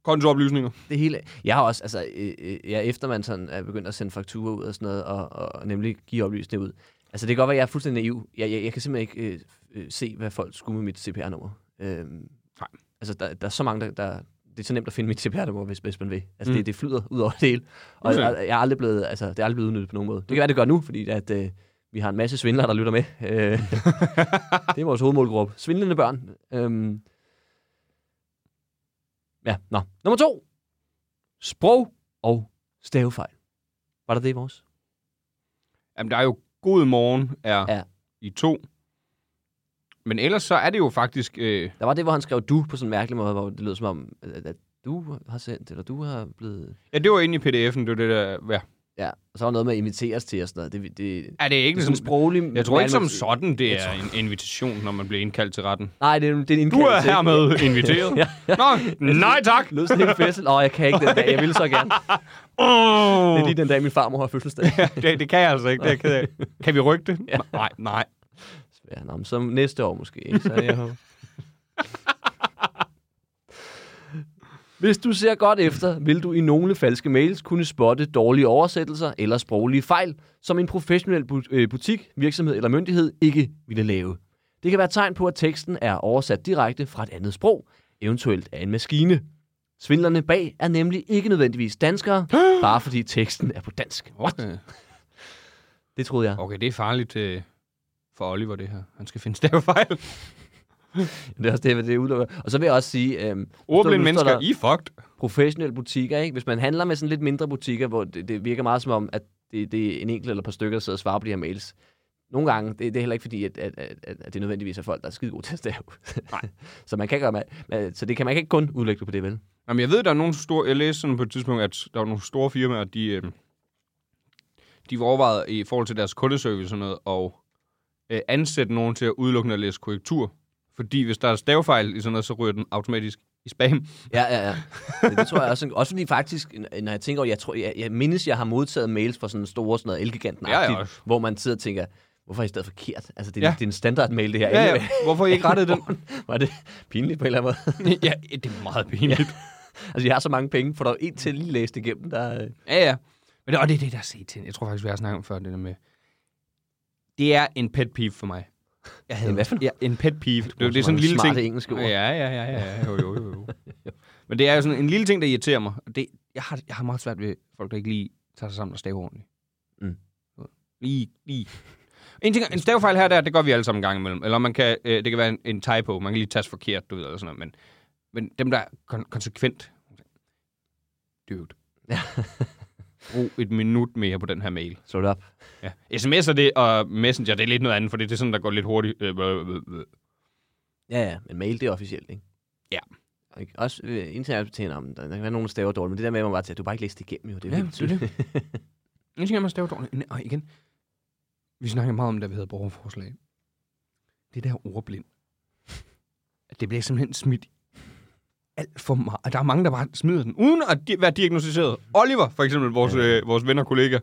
S4: kontooplysninger.
S3: det hele. Jeg har også, altså, øh, øh, ja, efter man sådan er begyndt at sende fakturer ud og sådan noget, og, og nemlig give oplysninger ud. Altså, det kan godt være, at jeg er fuldstændig naiv. Jeg, jeg, jeg kan simpelthen ikke øh, øh, se, hvad folk skulle med mit CPR-nummer. Øhm,
S4: Nej.
S3: Altså, der, der er så mange, der, der... Det er så nemt at finde mit CPR-nummer, hvis, hvis man vil. Altså, mm. det, det flyder ud over det hele. Og jeg,
S4: Fuldstændig.
S3: jeg, jeg er aldrig blevet, altså, det er aldrig blevet udnyttet på nogen måde. Det kan være, det gør nu, fordi at, øh, Vi har en masse svindlere, der lytter med. Øh, det er vores hovedmålgruppe. Svindlende børn. Øhm. Ja, nå. Nummer to. Sprog og stavefejl. Var der det i vores?
S4: Jamen, der er jo god morgen er
S3: Ja.
S4: ja. i to. Men ellers så er det jo faktisk... Øh,
S3: Der var det, hvor han skrev du på sådan en mærkelig måde, hvor det lød som om, at, at du har sendt, eller du har blevet...
S4: ja, det var inde i pdf'en, det var det der... Ja,
S3: Ja, og så var noget med at inviteres til og sådan noget. Det, det, det
S4: er det ikke
S3: er sådan
S4: sådan...
S3: en sproglig...
S4: Jeg tror ikke som
S3: nærmest-
S4: sådan, det
S3: Jeg
S4: er en invitation, når man bliver indkaldt til retten.
S3: Nej, det er, det er en
S4: Du er
S3: indkaldelse.
S4: hermed inviteret.
S3: Ja, ja.
S4: Nå, nej tak!
S3: Lød sådan en fødsel. Åh, jeg kan ikke den dag. Jeg ville så gerne. Det er
S4: Oh.
S3: lige den dag, min farmor har fødselsdag.
S4: Det, det kan jeg altså ikke, det er jeg ked af. Kan vi rykke det? Nej, nej.
S3: Ja, nå, men så næste år måske. Ikke? Så jeg håber. Hvis du ser godt efter, vil du i nogle falske mails kunne spotte dårlige oversættelser eller sproglige fejl, som en professionel bu- øh, butik, virksomhed eller myndighed ikke ville lave. Det kan være et tegn på, at teksten er oversat direkte fra et andet sprog, eventuelt af en maskine. Svindlerne bag er nemlig ikke nødvendigvis danskere, bare fordi teksten er på dansk.
S4: What?
S3: Det troede jeg.
S4: Øh, Okay, det er farligt øh, for Oliver, det her. Han skal finde stavefejl.
S3: Det er også det, hvad det udelukker. Og så vil jeg også sige... Øhm,
S4: Ordblinde
S3: nu står
S4: mennesker,
S3: der-
S4: I er fucked.
S3: professionelle butikker, ikke? Hvis man handler med sådan lidt mindre butikker, hvor det, det virker meget som om, at det, det er en enkelt eller et par stykker, der sidder og svarer på de her mails. Nogle gange, det, det er heller ikke fordi, at, at, at, at det nødvendigvis er folk, der er skide gode til at stave. Nej. så man kan gøre, man, man, så det kan man kan ikke kun udlægge det på det, vel?
S4: Jamen, jeg ved, der er nogle store... Jeg læste sådan på et tidspunkt, at der var nogle store firmaer, de, øh, de var overvejet i forhold til deres kundeservice og sådan noget, og øh, ansætte nogen til at udelukkende at læse korrektur. Fordi hvis der er stavefejl i sådan noget, så ryger den automatisk i spam.
S3: Ja, ja, ja. Det, det tror jeg også. Også fordi faktisk, n- når jeg tænker over, jeg, tror, jeg, jeg mindes, jeg har modtaget mails fra sådan store, sådan noget elgiganten
S4: Ja, ja, også.
S3: hvor man sidder og tænker, hvorfor har I stadig forkert? Altså, det er, ja.
S4: Ja.
S3: det er en standardmail, det her.
S4: Ja, ja. Hvorfor har I ikke rettet den?
S3: Var det pinligt på en eller anden måde?
S4: ja, det er meget pinligt.
S3: Altså, jeg har så mange penge, for der er en til lige læst igennem, der... øh,
S4: Ja, ja. Men det, og det er det, der er set til. Jeg tror faktisk, vi har snakket om før, det der med... Det er en pet peeve for mig. Jeg
S3: Ja, hvad for noget?
S4: ja, en pet peeve. Det, det,
S3: bruger
S4: det er
S3: så
S4: sådan en
S3: mange
S4: lille
S3: smarte
S4: ting.
S3: engelske ord.
S4: Ja, ja, ja, ja. Jo, jo, jo, jo. Men det er jo sådan en lille ting, der irriterer mig. Og Det, jeg, har, jeg har meget svært ved folk, der ikke lige tager sig sammen og staver ordentligt.
S3: Mm.
S4: Lige, lige. En, ting, en stavefejl her, der, det gør vi alle sammen en gang imellem. Eller man kan, øh, det kan være en, en typo. Man kan lige taste forkert, du ved, eller sådan noget. Men, men dem, der er kon- konsekvent... Dude.
S3: Ja.
S4: Brug et minut mere på den her mail.
S3: Slå det op.
S4: Ja. Sms'er det, og Messenger, det er lidt noget andet, for det er sådan, der går lidt hurtigt. Øh, øh, øh, øh.
S3: Ja, ja, men mail, det er officielt, ikke?
S4: Ja.
S3: Og ikke- Også øh, internt til om der, der kan være nogen, der staver dårligt, men det der med, at man bare tager, du har bare ikke læst det igennem, jo. Det er jo
S4: Ja,
S3: helt
S4: det er
S3: tydeligt.
S4: En ting er, man staver dårligt. Og igen, vi snakker meget om, da vi havde borgerforslag. Det der ordblind. At det bliver simpelthen smidt alt for meget. Og Der er mange, der bare smider den, uden at di- være diagnostiseret. Oliver, for eksempel, vores,
S3: Ja.
S4: øh, vores ven og kollega.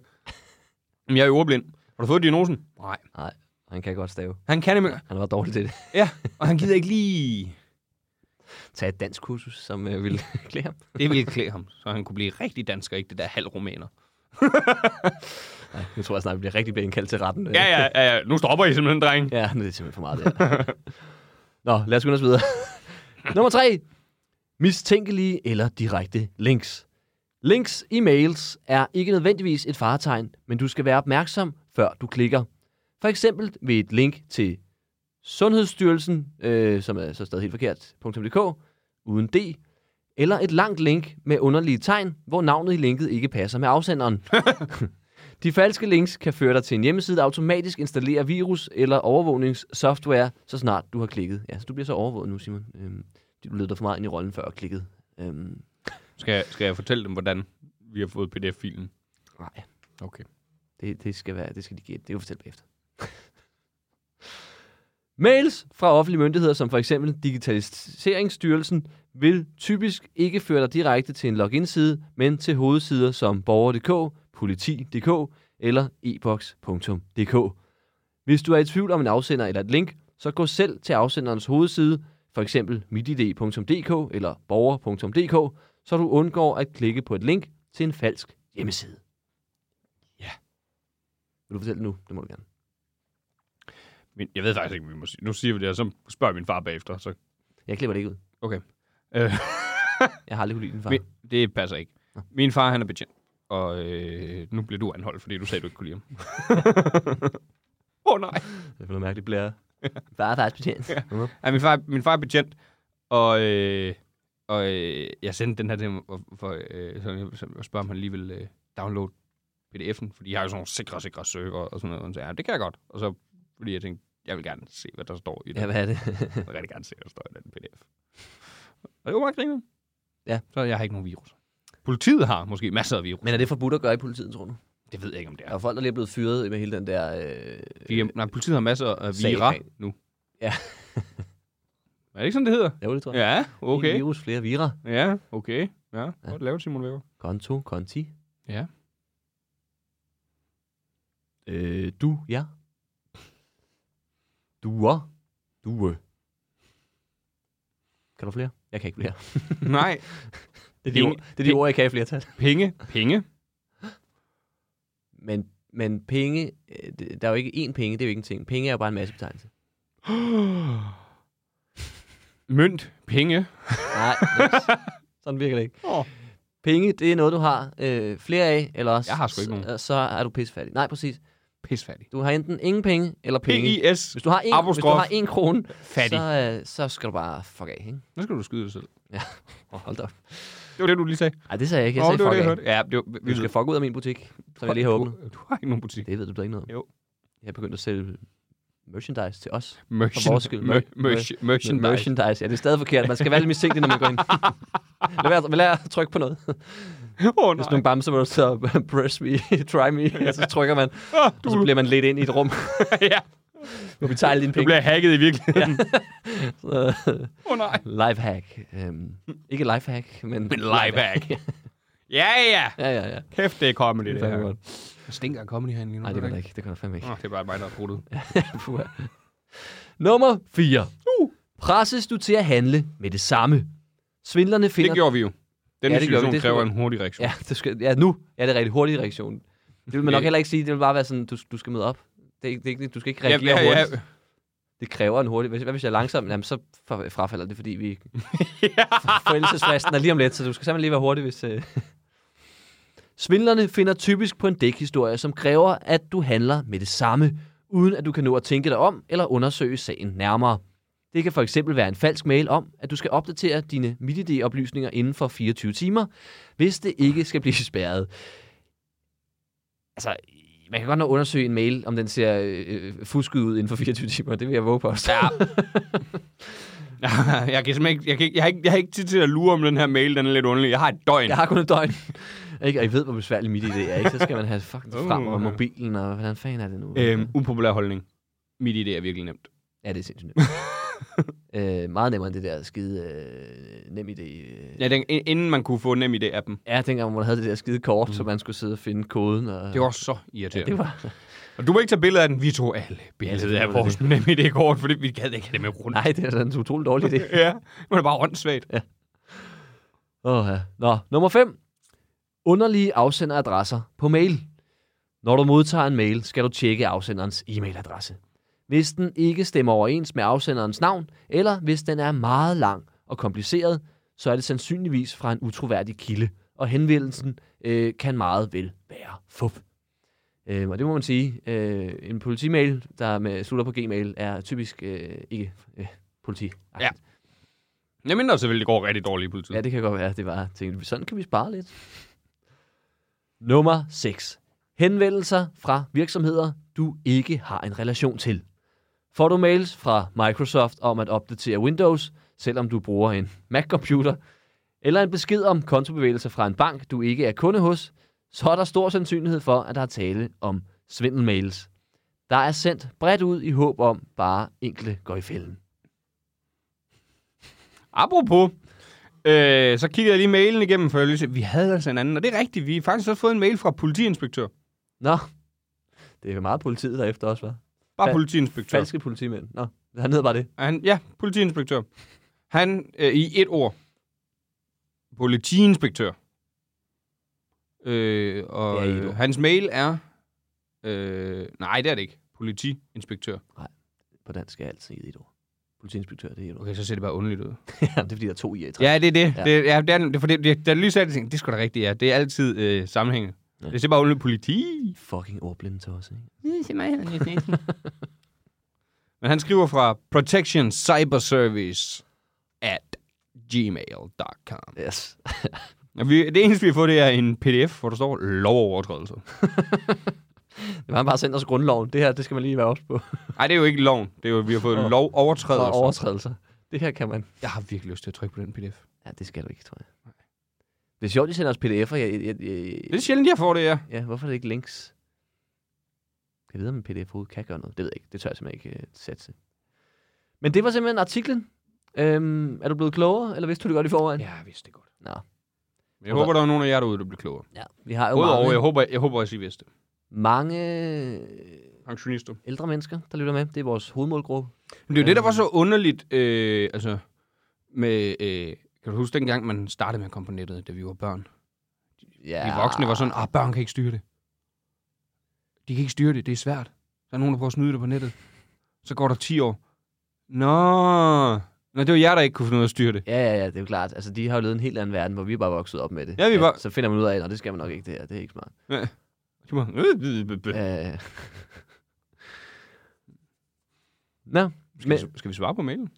S4: Jamen, jeg er jo ordblind. Har du fået diagnosen? Nej.
S3: Nej, han kan godt stave.
S4: Han kan nemlig.
S3: Han var dårlig til det.
S4: Ja, og han gider ikke lige...
S3: Tag et dansk kursus, som øh, ville klæde ham.
S4: Det ville klæde ham, så han kunne blive rigtig dansker, ikke det der halv rumæner.
S3: Nej, nu tror jeg snart, vi bliver rigtig blevet indkaldt til retten. øh.
S4: Ja, ja, ja, ja. Nu stopper I simpelthen, dreng.
S3: Ja, nu er det simpelthen for meget, det her. Nå, lad os skynde os videre. Nummer tre. Mistænkelige eller direkte links. Links i mails er ikke nødvendigvis et faretegn, men du skal være opmærksom, før du klikker. For eksempel ved et link til Sundhedsstyrelsen, øh, som er så stadig helt forkert, .dk, uden D, eller et langt link med underlige tegn, hvor navnet i linket ikke passer med afsenderen. De falske links kan føre dig til en hjemmeside, der automatisk installerer virus eller overvågningssoftware, så snart du har klikket. Ja, så du bliver så overvåget nu, Simon. Øhm, du lød dig for meget ind i rollen før og klikkede. Øhm,
S4: Skal, jeg- skal jeg fortælle dem, hvordan vi har fået pdf-filen?
S3: nej,
S4: Okay.
S3: det, det, skal være, det skal de give. Det kan du fortælle bagefter. Mails fra offentlige myndigheder, som for eksempel Digitaliseringsstyrelsen, vil typisk ikke føre dig direkte til en login-side, men til hovedsider som borger.dk, politi.dk eller ebox.dk. Hvis du er i tvivl om en afsender eller et link, så gå selv til afsenderens hovedside, for eksempel midid.dk eller borger.dk, så du undgår at klikke på et link til en falsk hjemmeside.
S4: Ja.
S3: Vil du fortælle det nu? Det må du gerne.
S4: Men jeg ved faktisk ikke, om vi må sige. Nu siger vi det, og så spørger min far bagefter. Så.
S3: Jeg klipper det ikke ud.
S4: Okay. Øh,
S3: Jeg har aldrig kunne lide den far.
S4: min, det passer ikke. Min far, han er betjent. Og øh, nu bliver du anholdt, fordi du sagde, du ikke kunne lide ham. Åh oh, nej.
S3: Det er noget mærkeligt blære. Bare faktisk betjent. Ja.
S4: Ja, min, far, min far er betjent, og, øh, og øh, jeg sendte den her til ham, og- for, øh, så jeg så spørger, om han lige vil øh, downloade pdf'en, fordi jeg har jo sådan nogle sikre, sikre søger og sådan noget. Og så, ja, det kan jeg godt. Og så, fordi jeg tænkte, jeg vil gerne se, hvad der står i den.
S3: ja, hvad er det?
S4: Jeg vil rigtig gerne se, hvad der står i den pdf. Og det var meget griner.
S3: Ja.
S4: Så jeg har ikke nogen virus. Politiet har måske masser af virus.
S3: Men er det forbudt at gøre i politiet, tror du?
S4: Det ved jeg ikke, om det
S3: Der
S4: er.
S3: er folk, der lige er blevet fyret med hele den der... Øh,
S4: De, nej, politiet har masser af
S3: Sag-
S4: vira nu.
S3: Ja.
S4: er det ikke sådan, det hedder?
S3: jo, det tror jeg.
S4: Ja,
S3: En
S4: okay.
S3: virus, flere vira.
S4: Ja, okay. Ja, godt lavet, Simon Væver.
S3: Konto, konti.
S4: Ja.
S3: Øh, du, ja. Duer. Due. Kan du flere? Jeg kan ikke flere.
S4: Nej,
S3: Det er de,
S4: Penge-
S3: ord, det er de
S4: pe-
S3: ord, jeg kan i flertal.
S4: penge, penge.
S3: Men, men penge, øh, det- der er jo ikke én penge, det er jo ikke en ting. Penge er jo bare en masse betegnelse.
S4: Mønt, penge.
S3: Nej, niks. sådan virker det ikke.
S4: Åh.
S3: Penge, det er noget, du har øh, flere af, eller også,
S4: Jeg har sgu ikke nogen.
S3: Så, så er du pissefattig. Nej, præcis.
S4: Pisfattig.
S3: Du har enten ingen penge, eller penge.
S4: P-I-S.
S3: Hvis du har en, hvis du
S4: Apostrof.
S3: har en krone,
S4: Fattig.
S3: så, øh, så skal du bare fuck af, ikke?
S4: Nu skal du skyde dig selv.
S3: Ja, hold da op.
S4: Det var det, du lige sagde.
S3: Ej, det sagde jeg ikke. Jeg
S4: Åh,
S3: sagde
S4: det var det,
S3: fuck
S4: jeg
S3: af.
S4: hørte. Ja, det var, vi
S3: Du skal fuck ud af min butik, som jeg lige har åbnet.
S4: Du, du har ikke nogen butik.
S3: Det ved du da ikke noget om.
S4: Jo.
S3: Jeg er begyndt at sælge merchandise til os. For vores
S4: Merchant,
S3: skyld.
S4: mer-
S3: Mer-
S4: mer- merchandise.
S3: Merchandise. merchandise. Ja, det er stadig forkert. Man skal være lidt mistænkelig, når man går ind. lad, være, lad være at trykke på noget.
S4: Åh, oh,
S3: Hvis nogle bamser vil så press me, try me, og så trykker man,
S4: Ah,
S3: og så
S4: du,
S3: bliver man lidt ind i et rum,
S4: ja,
S3: hvor vi tager alle dine
S4: du
S3: penge.
S4: bliver hacket i virkeligheden.
S3: Så,
S4: Åh, oh, nej.
S3: Lifehack. Øhm, ikke lifehack, men...
S4: Men lifehack. Ja, ja.
S3: ja, ja, ja.
S4: Kæft, det er comedy, det,
S3: Det
S4: det
S3: er
S4: her.
S3: godt.
S4: Stinker comedy herinde lige nu.
S3: Nej, det var det ikke. Det kan du fandme ikke.
S4: Åh, det er bare mig, der har brudt ud.
S3: Puha. Nummer 4. Uh. Presses du til at handle med det samme? Svindlerne finder...
S4: Det gjorde vi jo. Den
S3: Ja,
S4: ja,
S3: det gjorde vi.
S4: situation
S3: Det
S4: kræver
S3: skulle-
S4: en hurtig reaktion.
S3: Ja, det skal, ja, nu er det rigtig hurtig reaktion. Det vil man nok
S4: Ja.
S3: heller ikke sige. Det vil bare være sådan, du, du skal møde op. Det er, ikke- det er ikke, du skal ikke
S4: ja,
S3: reagere
S4: ja, ja.
S3: hurtigt. Det kræver en hurtig... Hvis- Hvad hvis jeg er langsom? Jamen, så fra- frafalder det, fordi vi... Forældelsesfristen er lige om lidt, så du skal simpelthen lige være hurtig, hvis... Øh... Svindlerne finder typisk på en dækhistorie, som kræver, at du handler med det samme, uden at du kan nå at tænke dig om eller undersøge sagen nærmere. Det kan for eksempel være en falsk mail om, at du skal opdatere dine MitID-oplysninger inden for 24 timer, hvis det ikke skal blive spærret. Altså, man kan godt nå at undersøge en mail, om den ser øh, øh, fusket ud inden for 24 timer. Det vil jeg våge på også. Ja.
S4: jeg, kan simpelthen ikke, jeg, kan ikke, jeg, har ikke, jeg har ikke tid til at lure, om den her mail den er lidt underlig. Jeg har et døgn.
S3: Jeg har kun et døgn. ikke? Og I ved, hvor besværligt mit idé er, ikke? Så skal man have fucking det frem og
S4: Uh.
S3: mobilen, og hvordan fanden er det nu?
S4: Øhm, upopulær holdning. Mit idé er virkelig nemt.
S3: Ja, det er sindssygt nemt. øh, meget nemmere end det der skide øh, nem idé. Øh.
S4: Ja, den, ind- inden man kunne få nem idé af dem.
S3: Ja, dengang hvor man havde det der skide kort, mm. så man skulle sidde og finde koden. Og...
S4: Det var så
S3: ja,
S4: irriterende.
S3: det var...
S4: Og du må ikke tage billeder af den. Vi tog alle
S3: selvfølgelig
S4: billeder af
S3: var
S4: vores nem idé-kort, fordi vi gad ikke have det med rundt.
S3: Nej, det er sådan en utrolig dårlig idé.
S4: Ja, men det er bare åndssvagt.
S3: Åh, ja. Nå, nummer 5. Underlige afsenderadresser på mail. Når du modtager en mail, skal du tjekke afsenderens e-mailadresse. Hvis den ikke stemmer overens med afsenderens navn, eller hvis den er meget lang og kompliceret, så er det sandsynligvis fra en utroværdig kilde, og henvendelsen øh, kan meget vel være fup. Øh, og det må man sige, øh, en politimail, der med, slutter på gmail, er typisk øh, ikke øh, politi.
S4: Ja. Jeg mindre selvfølgelig, det går rigtig dårligt i politiet.
S3: Ja, det kan godt være. Det var, jeg tænkte, sådan kan vi spare lidt. Nummer 6. Henvendelser fra virksomheder, du ikke har en relation til. Får du mails fra Microsoft om at opdatere Windows, selvom du bruger en Mac-computer, eller en besked om kontobevægelser fra en bank, du ikke er kunde hos, så er der stor sandsynlighed for, at der er tale om svindelmails. Der er sendt bredt ud i håb om, bare enkle går i fælden.
S4: Apropos, øh, så kiggede jeg lige mailen igennem, for jeg lige se, vi havde altså en anden. Og det er rigtigt, vi har faktisk også fået en mail fra politiinspektør.
S3: Nå, det er jo meget politiet der efter også, hva'?
S4: Bare
S3: Fa-
S4: politiinspektør.
S3: Falske politimænd. Nå, han hedder bare det.
S4: Og Han, ja, politiinspektør. Han, øh, i et ord, politiinspektør. Øh, og
S3: Ja, i et
S4: øh,
S3: ord.
S4: hans mail er... Øh, nej, det er det ikke. Politiinspektør.
S3: På dansk er altid et ord. Politiinspektør, det er et ord.
S4: Okay, så ser det bare underligt ud.
S3: ja, det er fordi, der er to i et.
S4: Ja, det er det.
S3: Ja.
S4: Ja. Det, ja, det er, den- det, for det, det, da jeg lige sagde det, tænkte jeg, det skulle da rigtigt, ja. Det er altid øh, sammenhæng. Det er bare ulykkelig politi.
S3: Fucking ordblinde til os, ikke?
S4: Men han skriver fra Protection Cyber Service at gmail.com.
S3: Yes.
S4: Og vi, det eneste, vi har fået, det er en pdf, hvor der står lovovertrædelser.
S3: Det var han bare sendt os grundloven. Det her, det skal man lige være ops på.
S4: Nej, det er jo ikke loven. Det er jo, vi har fået
S3: Nå.
S4: lovovertrædelser.
S3: Og overtrædelser. Det her kan man.
S4: Jeg har virkelig lyst til at trykke på den pdf.
S3: Ja, det skal du ikke, tror jeg. Det er sjovt, de sender os pdf'er. Jeg, jeg, jeg,
S4: Det er sjældent, jeg får det, ja.
S3: Ja, hvorfor er det ikke links? Jeg ved, om en pdf overhovedet kan gøre noget. Det ved jeg ikke. Det tør jeg simpelthen ikke uh, satse. Men det var simpelthen artiklen. Øhm, er du blevet klogere, eller vidste du det godt i forvejen?
S4: Ja, jeg vidste det godt.
S3: Nå.
S4: Men jeg håber, der er nogen af jer derude, der bliver klogere.
S3: Ja, vi har jo
S4: Udover,
S3: mange,
S4: jeg håber, jeg håber også, I vidste det.
S3: mange øh,
S4: Pensionister.
S3: ældre mennesker, der lytter med. Det er vores hovedmålgruppe.
S4: Men det er jo det,
S3: Øhm.
S4: der var så underligt, øh, altså, med, øh, kan du huske dengang, man startede med at komme på nettet, da vi var børn?
S3: Ja,
S4: De voksne var sådan, ah, børn kan ikke styre det. De kan ikke styre det, det er svært. Der er nogen, der prøver at snyde det på nettet. Så går der 10 år. Nå, Nå det var jer, der ikke kunne finde ud af at styre det.
S3: Ja, ja, ja, det er jo klart. Altså, de har jo levet en helt anden verden, hvor vi er bare vokset op med det.
S4: Ja, vi var-
S3: Så finder man ud af, at det skal man nok ikke det her. Det er ikke smart.
S4: De var, øh, øh, øh, øh.
S3: Øh. Nå,
S4: Skal, vi, skal vi svare på mailen?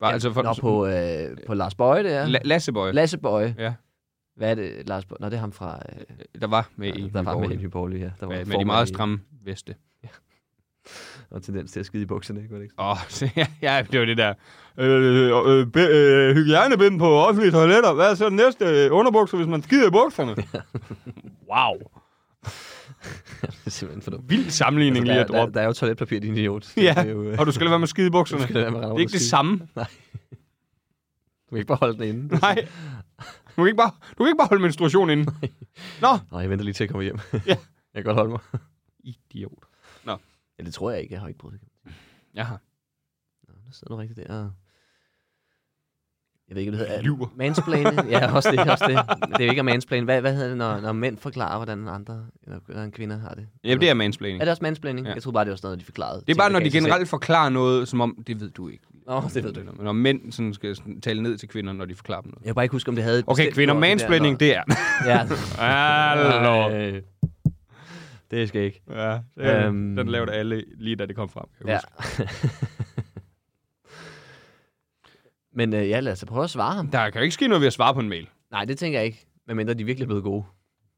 S4: Bare,
S3: ja,
S4: altså, for,
S3: nå, på, øh, på Lars Bøje, det er.
S4: La- Lasse Boy,
S3: Lasse Bøje.
S4: Ja.
S3: Hvad er det, Lars Bøje? Nå, det er ham fra... Øh,
S4: der var med i
S3: der var med i
S4: med,
S3: Nye Borgerlige her. Der var
S4: med, med de
S3: formand
S4: meget
S3: i-
S4: stramme veste.
S3: Og tendens til at skide i bukserne, ikke? Var det ikke?
S4: Åh, oh, ja, ja, det var det der. Øh, øh, be, øh, hygiejnebind på offentlige toiletter. Hvad er så den næste øh, underbukser, hvis man skider i bukserne? wow.
S3: det er simpelthen for dumt.
S4: Vild sammenligning lige
S3: der,
S4: at
S3: der,
S4: droppe.
S3: der, Altså, er jo toiletpapir, din idiot. Det
S4: Ja,
S3: er jo, øh,
S4: og du skal lade være med at skide i bukserne.
S3: du skal lade være med at
S4: Det
S3: rende
S4: er
S3: rundt
S4: ikke
S3: og
S4: det
S3: skide.
S4: samme.
S3: Du kan ikke bare holde den inde.
S4: Nej. Du kan ikke bare, du kan ikke bare holde menstruation inde. Nå,
S3: Nå, jeg venter lige til at komme hjem.
S4: Ja.
S3: jeg kan godt holde mig.
S4: idiot.
S3: Ja, det tror jeg ikke. Jeg har ikke prøvet det.
S4: Jaha.
S3: Nå, der sidder du rigtigt der. og- Jeg ved ikke, hvad det hedder.
S4: Lyver.
S3: Mansplane. Ja, også det. Også det. Men det er jo ikke at mansplane. Hvad, hvad hedder det, når, når mænd forklarer, hvordan andre, eller hvordan kvinder har det?
S4: Jamen, det er
S3: Er
S4: mansplaining.
S3: det også mansplaining?
S4: Ja.
S3: Ja. Jeg troede bare, det var sådan noget, de forklarede.
S4: Det er bare,
S3: Ting,
S4: når
S3: der
S4: de
S3: gav sig
S4: generelt forklarer noget, som om, det ved du ikke.
S3: selv. Nå, det ved du ikke.
S4: Men Når mænd sådan skal sådan tale ned til kvinder, når de forklarer dem noget.
S3: Jeg kan bare ikke huske, om det havde... et
S4: Okay,
S3: bestemt
S4: kvinder,
S3: ord, det der,
S4: mansplaining,
S3: når-
S4: det er.
S3: Ja.
S4: Hallo.
S3: Øh, Det skal jeg ikke.
S4: Ja, det,
S3: Øhm.
S4: øhm, den lavede alle lige da det kom frem. Kan jeg
S3: Ja.
S4: huske.
S3: Men øh, ja, lad os da prøve at svare ham.
S4: Der kan jo ikke ske noget ved at svare på en mail.
S3: Nej, det tænker jeg ikke. Medmindre de virkelig er blevet gode.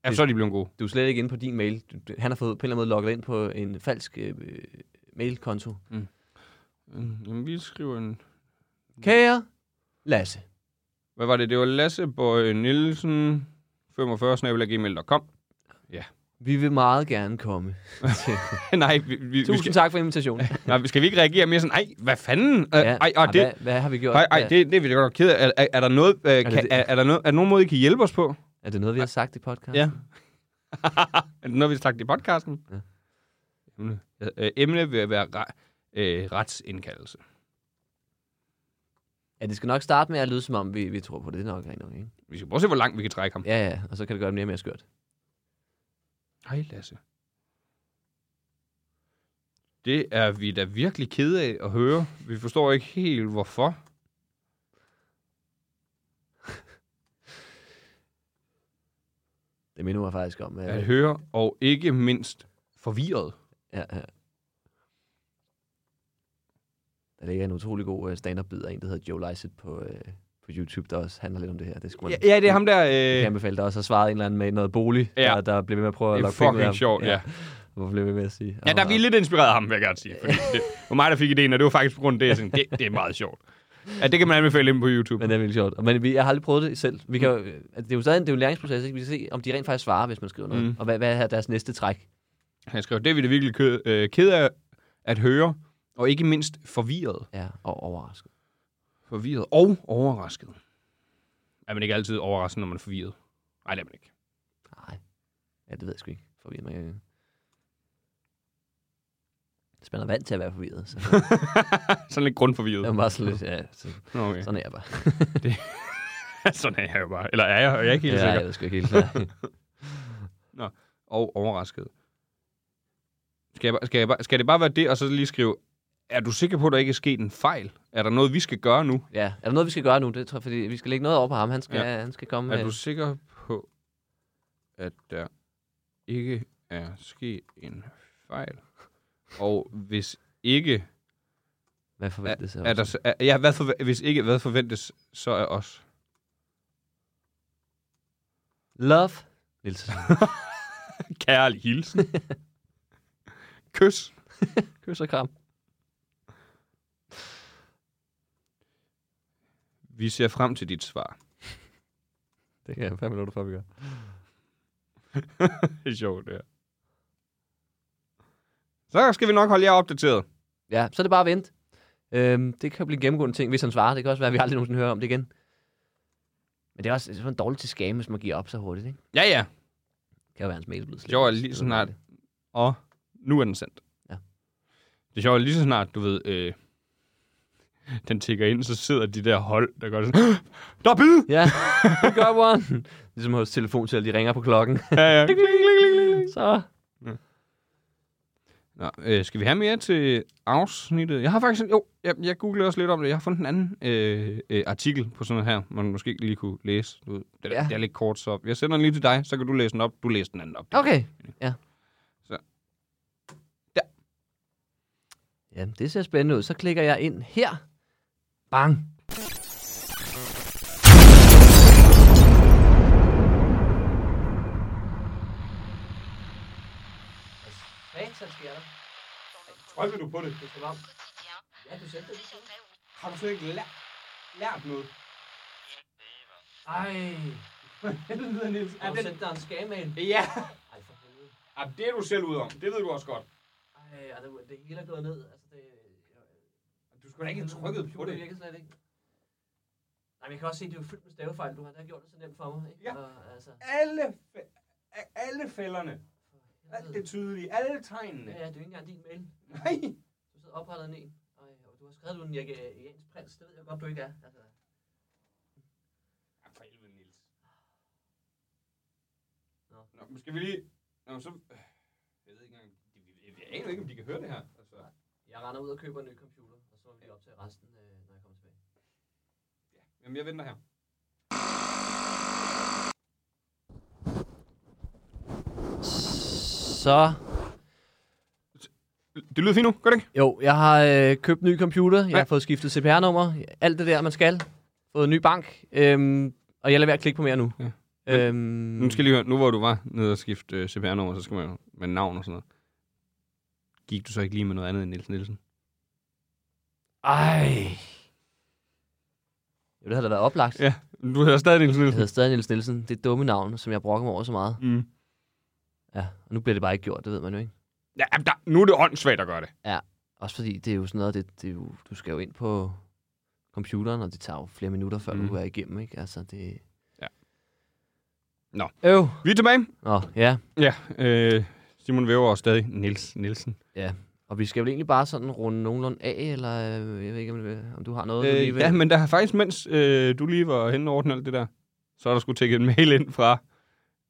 S4: Ja, så er de blevet gode.
S3: du er slet ikke inde på din mail. Du, du, han har fået på en eller anden måde logget ind på en falsk øh, mailkonto.
S4: Mm. Jamen, vi skriver en...
S3: Kære Lasse.
S4: Hvad var det? Det var Lasse Bøje Nielsen, 45 snabelaggmail.com.
S3: Vi vil meget gerne komme. Til.
S4: nej, vi, vi, vi,
S3: Tusind
S4: skal,
S3: tak for invitationen.
S4: nej, skal vi ikke reagere mere sådan, ej, hvad fanden? Øh,
S3: Ja,
S4: ej, og
S3: og
S4: det,
S3: hvad, hvad har vi gjort?
S4: ej, ej,
S3: Hvad-
S4: det, det er vi da godt nok ked af. Er, er, er, der noget, øh, er, kan,
S3: det-
S4: er, er, der noget, er der nogen måde, I kan hjælpe os på?
S3: Er det noget, vi har sagt i podcasten?
S4: er det noget, vi har sagt i podcasten?
S3: Ja.
S4: Emne. Øh, emne vil være re, øh, retsindkaldelse.
S3: ja. det skal nok starte med at lyde, som om vi, vi tror på det Det er nok. Rent nok ikke?
S4: Vi skal prøve at se, hvor langt vi kan trække ham.
S3: Ja, ja, og så kan det gøre det mere og mere skørt.
S4: Hej, Lasse. Det er vi da virkelig kede af at høre. Vi forstår ikke helt, hvorfor.
S3: Det minder mig faktisk om. Øh,
S4: At høre, og ikke mindst forvirret.
S3: ja, ja. Der ligger en utrolig god øh, stand-up-bid af en, der hedder Joe Lycett på, øh, på YouTube, der også handler lidt om det her. Det skulle man
S4: Ja, det er ham der...
S3: Jeg kan
S4: Øh,
S3: anbefale dig også at svare en eller anden med noget bolig,
S4: Ja.
S3: ja. der, der blev ved med at prøve at
S4: det er
S3: lokke penge ud af
S4: fucking
S3: ham.
S4: sjovt, ja.
S3: Hvorfor blev vi med at sige?
S4: Ja, der er vi lidt inspireret af ham, vil jeg gerne sige. Fordi det var mig, der fik idéen, og det var faktisk på grund af det. Jeg tænkte, det, det er meget sjovt. Ja, det kan man anbefale ind på YouTube.
S3: Men det er virkelig sjovt. Og- Men vi, jeg har aldrig prøvet det selv. Vi kan, jo- altså, det er jo stadig en, det er jo en læringsproces. Ikke? Vi kan se, om de rent faktisk svarer, hvis man skriver noget.
S4: Mm.
S3: Mm. Og hvad, hvad er deres næste træk?
S4: Han skrev, det er vi da virkelig ked, øh, ked af at høre, og ikke mindst forvirret.
S3: Ja, og overrasket.
S4: Forvirret og overrasket. Er man ikke altid overrasket, når man er forvirret? Nej, det er man ikke.
S3: Nej. Ja, det ved jeg sgu ikke. Forvirret mig. ikke. Hvis man er vant til at være forvirret, så
S4: sådan lidt
S3: det
S4: grundforvirret.
S3: er man bare sådan lidt, ja, så,
S4: Nå, Okay.
S3: sådan er jeg bare.
S4: sådan er jeg jo bare. Eller er jeg? Jeg er ikke helt
S3: ja,
S4: ja,
S3: jeg
S4: sikker.
S3: ved sgu ikke helt. hvad-
S4: Og overrasket. Skal, jeg, bare- skal, jeg, bare- skal det bare være det, og så lige skrive, er du sikker på, at der ikke er sket en fejl? Er der noget, vi skal gøre nu?
S3: ja, er der noget, vi skal gøre nu? Det tror jeg, fordi Mm, vi skal lægge noget over på ham. Han skal, ja. han skal komme
S4: Er
S3: med.
S4: du sikker på, at der ikke er sket en fejl, og hvis ikke
S3: Hvad forventes
S4: er der, s- er, ja, hvad forve- hvis ikke hvad forventes, så er os.
S3: Love, Nielsen.
S4: Kærlig hilsen. Kys.
S3: Kys og kram.
S4: Vi ser frem til dit svar.
S3: Det kan jeg fem minutter før, vi gør.
S4: Det er sjovt, det her. Så skal vi nok holde jer opdateret.
S3: Ja, så er det bare at vente. Øhm, det kan blive en gennemgående ting, hvis han svarer. Det kan også være, at vi aldrig nogensinde hører om det igen. Men det er også det er sådan dårligt til skam, hvis man giver op så hurtigt, ikke?
S4: Ja, ja.
S3: Det kan jo være, hans mail er blevet slettet.
S4: Jo, lige så snart- Og nu er den sendt.
S3: Ja.
S4: Det er sjovt, lige så snart, du ved, øh, den tigger ind, så sidder de der hold, der gør sådan, der er bid!
S3: Ja, good job, one. Ligesom hos telefonceller, de ringer på klokken.
S4: Ja, ja. Kling, kling, kling, kling, kling.
S3: så
S4: Nå, øh, skal vi have mere til afsnittet? Jeg har faktisk, jo, jeg, jeg googlede også lidt om det. Jeg har fundet en anden øh, øh, artikel på sådan noget her, man måske lige kunne læse. Du, ved, det, ja.
S3: Ja.
S4: det er lidt kort, så jeg sender den lige til dig, så kan du læse den op. Du læser den anden op.
S3: Okay. Ja.
S4: Så.
S3: Ja.
S4: Der.
S3: Jamen, det ser spændende ud. Så klikker jeg ind her. Bang.
S4: Trykker du på det? Har du slet ikke lært, lært noget?
S3: Ej,
S4: Helvede, Niels.
S3: har du sendt dig en skamail?
S4: Ja,
S3: Ej, for helvede.
S4: ja, det er du selv ud om. Det ved du også godt.
S3: Ej, og det, det hele er gået ned. Altså, det, øh,
S4: Du skulle da ikke have trykket på
S3: Det
S4: det.
S3: virker slet ikke. Nej, men jeg kan også se, at det er jo fyldt med stavefejl. Du har da gjort det så nemt for mig, ikke?
S4: Ja.
S3: Og, altså,
S4: Alle, fæ- alle fælderne. Alt det tydelige. Alle tegnene.
S3: ja, ja, det er jo ikke engang din mail.
S4: Nej.
S3: Du sidder oprettet ned, og, og du har skrevet, du er en jægens prins. Det ved jeg godt, du ikke er. Altså,
S4: Ja, for helvede, Niels.
S3: Nå.
S4: Nå, men skal vi lige... Nå, men så... øh, Jeg ved ikke engang... Jeg, jeg aner ikke, om de kan høre det her. Altså,
S3: jeg render ud og køber en ny computer, og så vil vi optage resten, øh, når jeg kommer tilbage.
S4: jamen, jeg venter her.
S3: Så,
S4: Det lyder fint nu, gør det ikke?
S3: jo, jeg har øh, købt ny computer, jeg
S4: Ja.
S3: har fået skiftet CPR-nummer, alt det der, man skal. Fået en ny bank, øhm, og jeg lader være at klikke på mere nu.
S4: Ja.
S3: Øhm,
S4: Nu skal jeg lige høre, nu hvor du var nede og skifte øh, CPR-nummer, så skal man jo med navn og sådan noget. Gik du så ikke lige med noget andet end Niels Nielsen?
S3: Ej. Jo, det havde da været oplagt.
S4: Ja, du hedder stadig Niels
S3: Jeg
S4: Nielsen.
S3: hedder stadig Niels Nielsen. Det er dumme navn, som jeg brokker mig over så meget.
S4: Mm.
S3: Ja, og nu bliver det bare ikke gjort, det ved man jo ikke.
S4: Ja, jamen, der, nu er det åndssvagt at gøre det.
S3: Også fordi det er jo sådan noget, det, det er jo, du skal jo ind på computeren, og det tager jo flere minutter, før mm.
S4: Mhm.
S3: du er igennem, ikke? Altså, det...
S4: Ja. Nå.
S3: Øv.
S4: Vi er tilbage.
S3: Nå, ja.
S4: Ja, øh, Simon Væver og stadig Niels Nielsen.
S3: Og vi skal vel egentlig bare sådan runde nogenlunde af, eller øh, jeg ved ikke, om, det- om du har noget, du lige
S4: Øh,
S3: vil...
S4: ja, men der har faktisk, mens øh, du lige var henne og ordne alt det der, så er der skulle tække en mail ind fra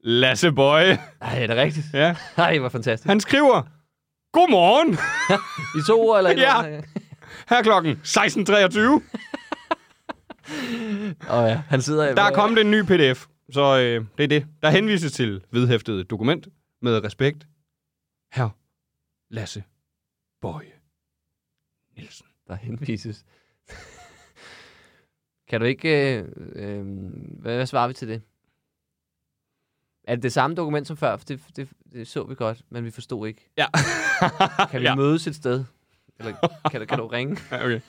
S4: Lasse Bøje.
S3: Ej, er det rigtigt?
S4: Ja,
S3: Ej, hvor fantastisk.
S4: han skriver, Godmorgen,
S3: I to ord, eller et eller
S4: Ja.
S3: andet?
S4: her er klokken 16.23.
S3: Åh ja, han sidder...
S4: Der er kommet en ny pdf, så øh, det er det. Der henvises til vedhæftet dokument med respekt. Her, Lasse Bøje Nielsen.
S3: der henvises. kan du ikke... Øh, øh, hvad, hvad svarer vi til det? Er det det samme dokument som før? For det, det, det så vi godt, men vi forstod ikke.
S4: Ja.
S3: Kan vi
S4: ja.
S3: ja. mødes et sted? Eller kan, du- kan du ringe?
S4: ja, okay.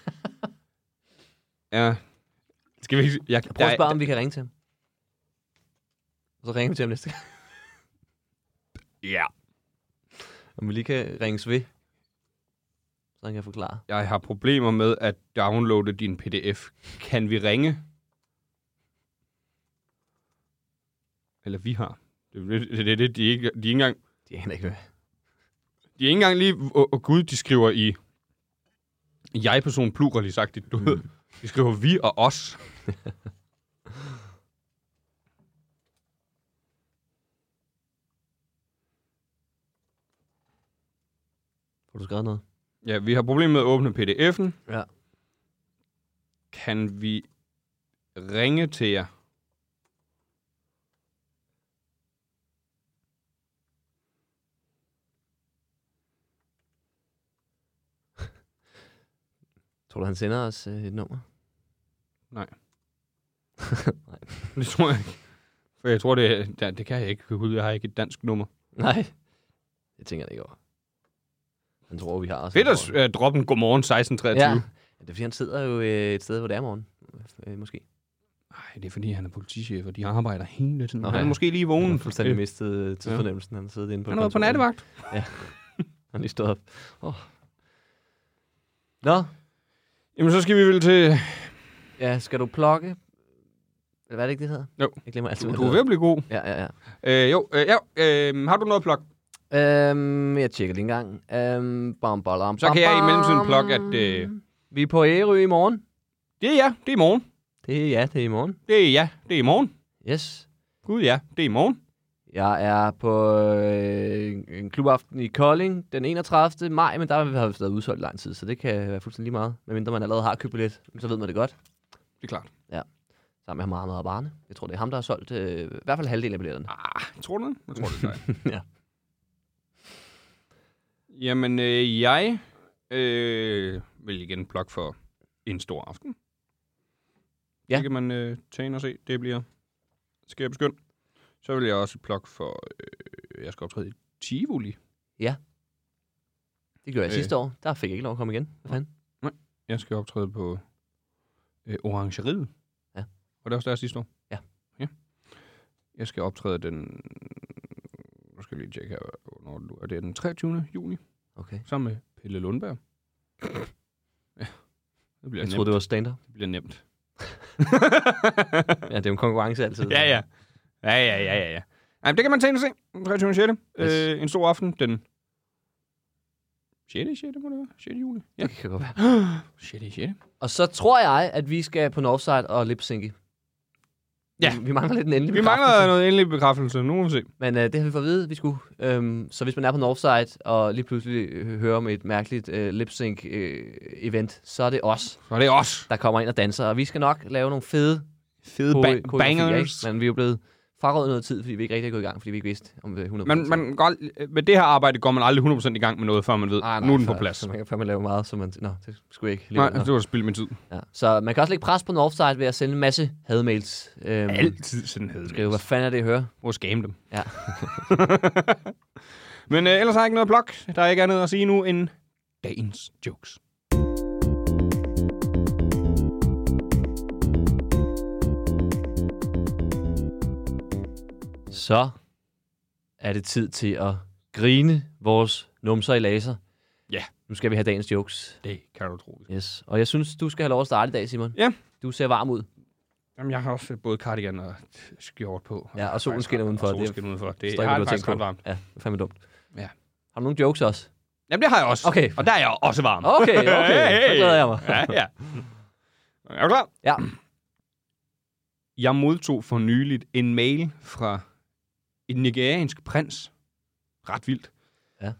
S4: Ja. Skal vi ikke... Jeg,
S3: Prøv at spørge, om vi kan ringe til ham. Og så ringer vi til ham næste gang.
S4: Ja.
S3: Om vi lige kan ringes ved. Så han kan forklare.
S4: jeg har problemer med at downloade din pdf. Kan vi ringe? Eller vi har. Det er det, det, det de, ikke, de, er ikke engang,
S3: De aner ikke, hvad.
S4: de er ikke engang lige... Åh oh, gud, de skriver i... Jeg-person pluralisagtigt, du ved. De skriver vi og os.
S3: Får du skrevet noget?
S4: Ja, vi har problemer med at åbne pdf'en.
S3: Ja.
S4: Kan vi ringe til jer?
S3: Tror du, han sender os øh, et nummer?
S4: Nej.
S3: Nej.
S4: Det tror jeg ikke. For jeg tror, det, det, det kan jeg ikke. Gud, Jeg har ikke et dansk nummer.
S3: Nej. Det tænker jeg ikke over. Han tror, vi har os.
S4: Fedt at uh, droppe en godmorgen 1623.
S3: Ja.
S4: Ja.
S3: ja. Det er fordi, han sidder jo øh, et sted, hvor det er morgen. Øh, måske.
S4: Nej, det er fordi, han er politichef, og de arbejder hele tiden.
S3: Nå,
S4: Nå, han er
S3: ja.
S4: måske lige
S3: Han
S4: vågen.
S3: har fuldstændig
S4: Øh,
S3: mistet øh, tidsfornemmelsen. Han sidder inde på
S4: Han har været på
S3: kontoret.
S4: nattevagt.
S3: Han er lige stået op. Oh. Nå,
S4: Jamen, så skal vi vel til...
S3: ja, skal du plukke? Eller hvad er det ikke, det hedder?
S4: Jo.
S3: Jeg glemmer altid,
S4: Du,
S3: hvad
S4: du
S3: det
S4: er ved at blive god.
S3: hedder. Ja, ja, ja.
S4: Øh, jo, øh, ja, øh, har du noget at plukke?
S3: Øhm, jeg tjekker lige en gang. Øhm, bam, bam,
S4: Så kan jeg i mellemtiden plukke, at, øh,
S3: Vi er på Ærø i morgen.
S4: Det er ja, det er i morgen.
S3: Det er ja, det er i morgen.
S4: Det er ja, det er i morgen.
S3: Yes.
S4: Gud ja, det er i morgen.
S3: Jeg er på øh, en- en klubaften i Kolding den 31. maj, men der har vi været været udsolgt i lang tid, så det kan være fuldstændig lige meget. Medmindre man allerede har købt billet, så ved man det godt.
S4: Det er klart.
S3: Sammen med Hamad og Barne. Jeg tror, det er ham, der har solgt øh, i hvert fald halvdelen af billetterne.
S4: Ah, tror du det? Jeg tror det, gør jeg.
S3: Ja.
S4: Jamen, øh, jeg øh, vil igen plukke for en stor aften.
S3: Ja.
S4: Det kan man øh, tage ind og se. Det bliver skæbeskyndt. Så vil jeg også plukke for, øh, jeg skal optræde i Tivoli.
S3: Det gjorde jeg
S4: Øh.
S3: sidste år. Der fik jeg ikke lov at komme igen. Hvad fanden?
S4: Jeg skal optræde på øh, Orangeriet.
S3: Ja.
S4: Og det var også der sidste år.
S3: Ja.
S4: ja. Jeg skal optræde den... Nu skal jeg lige tjekke her, hvornår du er. Det er den 23. juni.
S3: Okay.
S4: Sammen med Pelle Lundberg. ja, det bliver,
S3: Jeg
S4: nemt.
S3: troede, det var stand-up.
S4: det bliver nemt.
S3: Ja, det er jo en konkurrence altid.
S4: ja, ja. Ja, ja, ja, ja, ja. Ej, men det kan man tage ind og se. Den 23. 6.
S3: Yes.
S4: Øh, en stor aften. Den 6. 6. må det være. 6. juli. Ja.
S3: Det kan godt være.
S4: 6. 6.
S3: Og så tror jeg, at vi skal på Northside og lipsynke.
S4: Ja.
S3: Vi, vi mangler lidt en endelig
S4: Vi mangler noget endelig bekræftelse. Nu må vi se.
S3: Men øh, det har vi fået at vide, vi skulle. Øhm, så hvis man er på Northside og lige pludselig øh, hører om et mærkeligt øh, lipsync øh, event, så er det os,
S4: Så er det os.
S3: der kommer ind og danser. Og vi skal nok lave nogle fede
S4: Fede
S3: kore-
S4: ba-
S3: koreografier,
S4: bangers.
S3: ikke? Men vi er jo blevet frarådet noget tid, fordi vi ikke rigtig er gået i gang, fordi vi ikke vidste om øh, det 100%.
S4: Man, man går, ald- med det her arbejde går man aldrig 100% i gang med noget, før man ved,
S3: Ah,
S4: nu er den på
S3: før-
S4: plads.
S3: Så man kan før man laver meget, så man... Nå, det skulle jeg ikke.
S4: Nej,
S3: alligevel. Nå.
S4: det var spild min tid.
S3: Ja. Så man kan også lægge pres på Northside ved at sende en masse hademails. Øhm,
S4: Altid sådan hed
S3: Skrive, hvad fanden er det, jeg hører?
S4: Prøv at skamme dem.
S3: Ja.
S4: Men øh, ellers har jeg ikke noget blok. Der er ikke andet at sige nu end dagens jokes.
S3: Så er det tid til at grine vores numser i laser.
S4: Ja.
S3: Nu skal vi have dagens jokes.
S4: Det kan du tro. vi skal.
S3: Yes. Og jeg synes, du skal have lov at starte i dag, Simon.
S4: Ja.
S3: Du ser varm ud.
S4: Jamen, jeg har også øh, både cardigan og t- skjort på.
S3: Ja, og solen skinner udenfor.
S4: Og
S3: Det
S4: solen
S3: er-
S4: skinner udenfor. Det,
S3: Forstår
S4: jeg
S3: ikke,
S4: har
S3: hvad
S4: det
S3: du
S4: faktisk
S3: tænker
S4: ret
S3: på.
S4: varmt.
S3: Ja, det er fandme dumt.
S4: Ja.
S3: Har du nogle jokes også?
S4: Jamen, det har jeg også.
S3: Okay.
S4: Og der er jeg også varm.
S3: Okay, okay. Så glæder jeg mig.
S4: Ja, ja. Er du klar?
S3: Ja.
S4: Jeg modtog for nyligt en mail fra en nigeriansk prins. Ret vildt.
S3: Ja.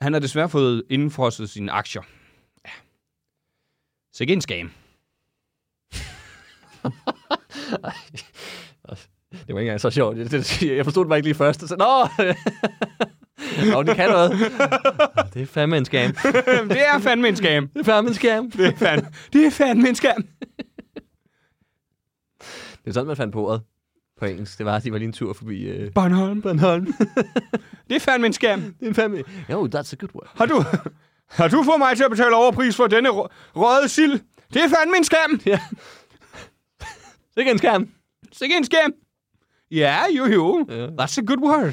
S4: Han har desværre fået indfrosset sine aktier. Ja. Så ikke en skam.
S3: Det var ikke engang så sjovt. Det, det, jeg forstod det bare ikke lige først. Så, Nå! Nå, det kan noget. Det er fandme en skam. Det
S4: det er fandme en skam.
S3: er fandme en skam.
S4: Det er fandme, det er fandme en skam.
S3: Det er sådan, man fandt på ordet på engelsk. Det var, at de var lige en tur forbi... Øh,
S4: Bornholm. Bornholm. det er fandme en skam.
S3: Det er fandme... Jo, that's a good word.
S4: Har du, har du fået mig til at betale overpris for denne rø- røde sild? Det er fandme en skam.
S3: Ja. Sikke en skam.
S4: Sikke en skam. Ja, jo jo.
S3: Ja.
S4: That's a good word.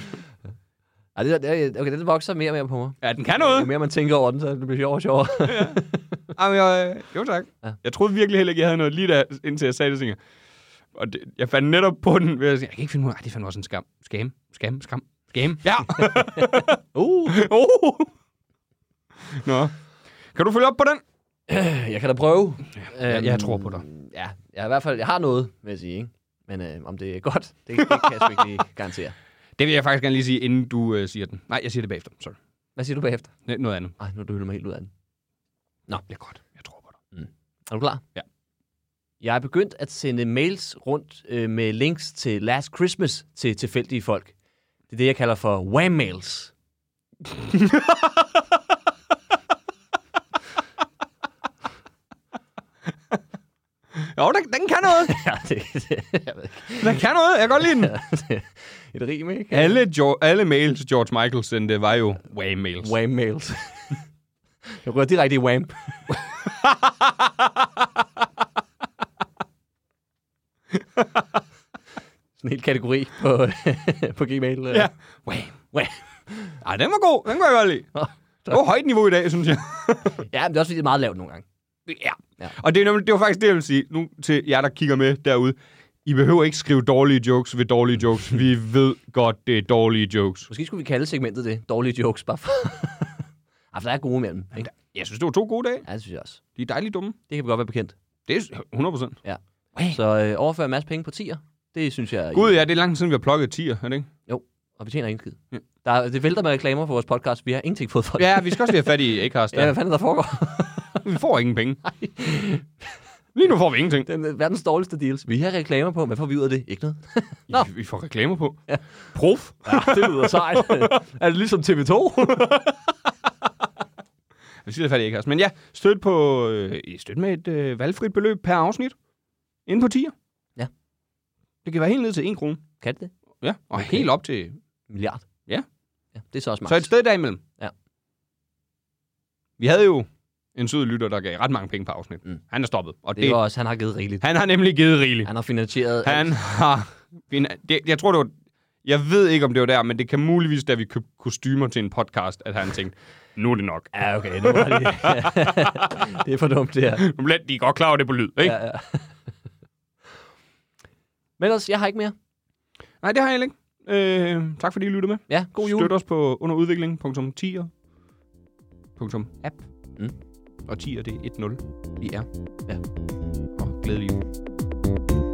S3: Ej, det, det, okay, det vokser mere og mere på mig.
S4: Ja, den kan
S3: Jo
S4: noget.
S3: mere man tænker over den, så det bliver sjovere og sjovere.
S4: Jamen, jeg, jo tak.
S3: Ja.
S4: Ja. Jeg troede virkelig heller ikke, jeg havde noget lige der, indtil jeg sagde det, tænker jeg. Og det, jeg fandt netop på den ved at sige, jeg kan ikke finde ud af, Ej, det fandt også en skam. Skam, skam, skam, skam. Ja.
S3: uh.
S4: oh. Nå. Kan du følge op på den?
S3: Jeg kan da prøve. Ja,
S4: jeg- jeg tror på dig.
S3: Ja, jeg, har i hvert fald, jeg har noget, vil jeg sige. Ikke? Men øh, om det er godt, det, det kan jeg sgu ikke lige garantere.
S4: Det vil jeg faktisk gerne lige sige, inden du øh, siger den. Nej, jeg siger det bagefter. Sorry.
S3: Hvad siger du bagefter?
S4: N- noget andet.
S3: Ej, nu har du hyldet mig helt ud af den.
S4: Nå, det er godt. Jeg tror på dig.
S3: Er du klar?
S4: Ja.
S3: Jeg er begyndt at sende mails rundt øh, med links til Last Christmas til tilfældige folk. Det er det, jeg kalder for wham-mails.
S4: Jo, den, den kan noget.
S3: ja, det, det, jeg ved ikke.
S4: Den kan noget. Jeg kan godt lide den.
S3: Et rim, ikke?
S4: Alle, George, alle mails, George Michael sendte, var jo wham-mails.
S3: Wham mails. jeg rører direkte i wham. Sådan en hel kategori på, på Gmail.
S4: Ja.
S3: Wham. Wham.
S4: Ej, den var god. Den kunne jeg godt lide. Det var højt niveau i dag, synes jeg.
S3: Ja, men det er også fordi, det er meget lavt nogle gange.
S4: ja.
S3: Ja.
S4: Og det, er nemlig- det var faktisk det, jeg ville sige nu til jer, der kigger med derude. I behøver ikke skrive dårlige jokes ved dårlige jokes. Vi ved godt, det er dårlige jokes.
S3: Måske skulle vi kalde segmentet det. Dårlige jokes, bare for... Ej, for der er gode imellem. Ikke?
S4: Jeg synes, det var to gode dage.
S3: Ja, det synes jeg også.
S4: De er dejligt dumme.
S3: Det kan vi godt være bekendt.
S4: Det er 100 procent.
S3: Så øh, overføre en masse penge på tier. Det synes jeg...
S4: Gud, ja, det er lang tid siden, vi har plukket tier, er det ikke?
S3: Og vi tjener ingen skid.
S4: Ja.
S3: Der, er- det vælter med reklamer for vores podcast. Vi har ingenting fået for det.
S4: Ja, vi skal også lige have fat i Acast.
S3: ja hvad
S4: Ja.
S3: fanden er der foregår?
S4: Vi får ingen penge. Lige nu får vi ingenting.
S3: Den øh, verdens dårligste deals. Vi har reklamer på. Hvad får vi ud af det? Ikke noget. Nå.
S4: Vi, vi får reklamer på. Ja. Prof.
S3: Ja, det lyder sejt. er det ligesom TV2?
S4: Vi skal lige have fat i Acast. Men ja, støt, på, øh, støt med et øh, valgfrit beløb per afsnit. Inden på tier.
S3: Ja.
S4: Det kan være helt ned til 1 krone.
S3: kan det det?
S4: Ja, og
S3: Okay.
S4: okay. helt op til...
S3: Milliard.
S4: Ja.
S3: ja. Det er så også
S4: Så et
S3: meget.
S4: sted derimellem.
S3: Ja.
S4: Vi havde jo en sød lytter, der gav ret mange penge på afsnit.
S3: Mm.
S4: Mm. Han er stoppet. Og det,
S3: Det
S4: det
S3: var også, han har givet rigeligt.
S4: han har nemlig givet rigeligt.
S3: Han har finansieret...
S4: Han har... fin- Det, jeg tror, det var... Jeg ved ikke, om det var der, men det kan muligvis, da vi købte kostymer til en podcast, at han tænkte, nu er det nok.
S3: Ja, okay. Nu er det... det er for dumt, det her.
S4: Nu bliver de er godt klar over det på lyd, ikke? Ja.
S3: Ja, ja. Men ellers, jeg har ikke mere.
S4: Nej, det har jeg ikke. Øh, tak fordi I lyttede med.
S3: Ja, god jul.
S4: Støt os på underudvikling.tier.app
S3: Mm.
S4: Og 10 er det 1-0. Vi er.
S3: Ja.
S4: Og glædelig jul.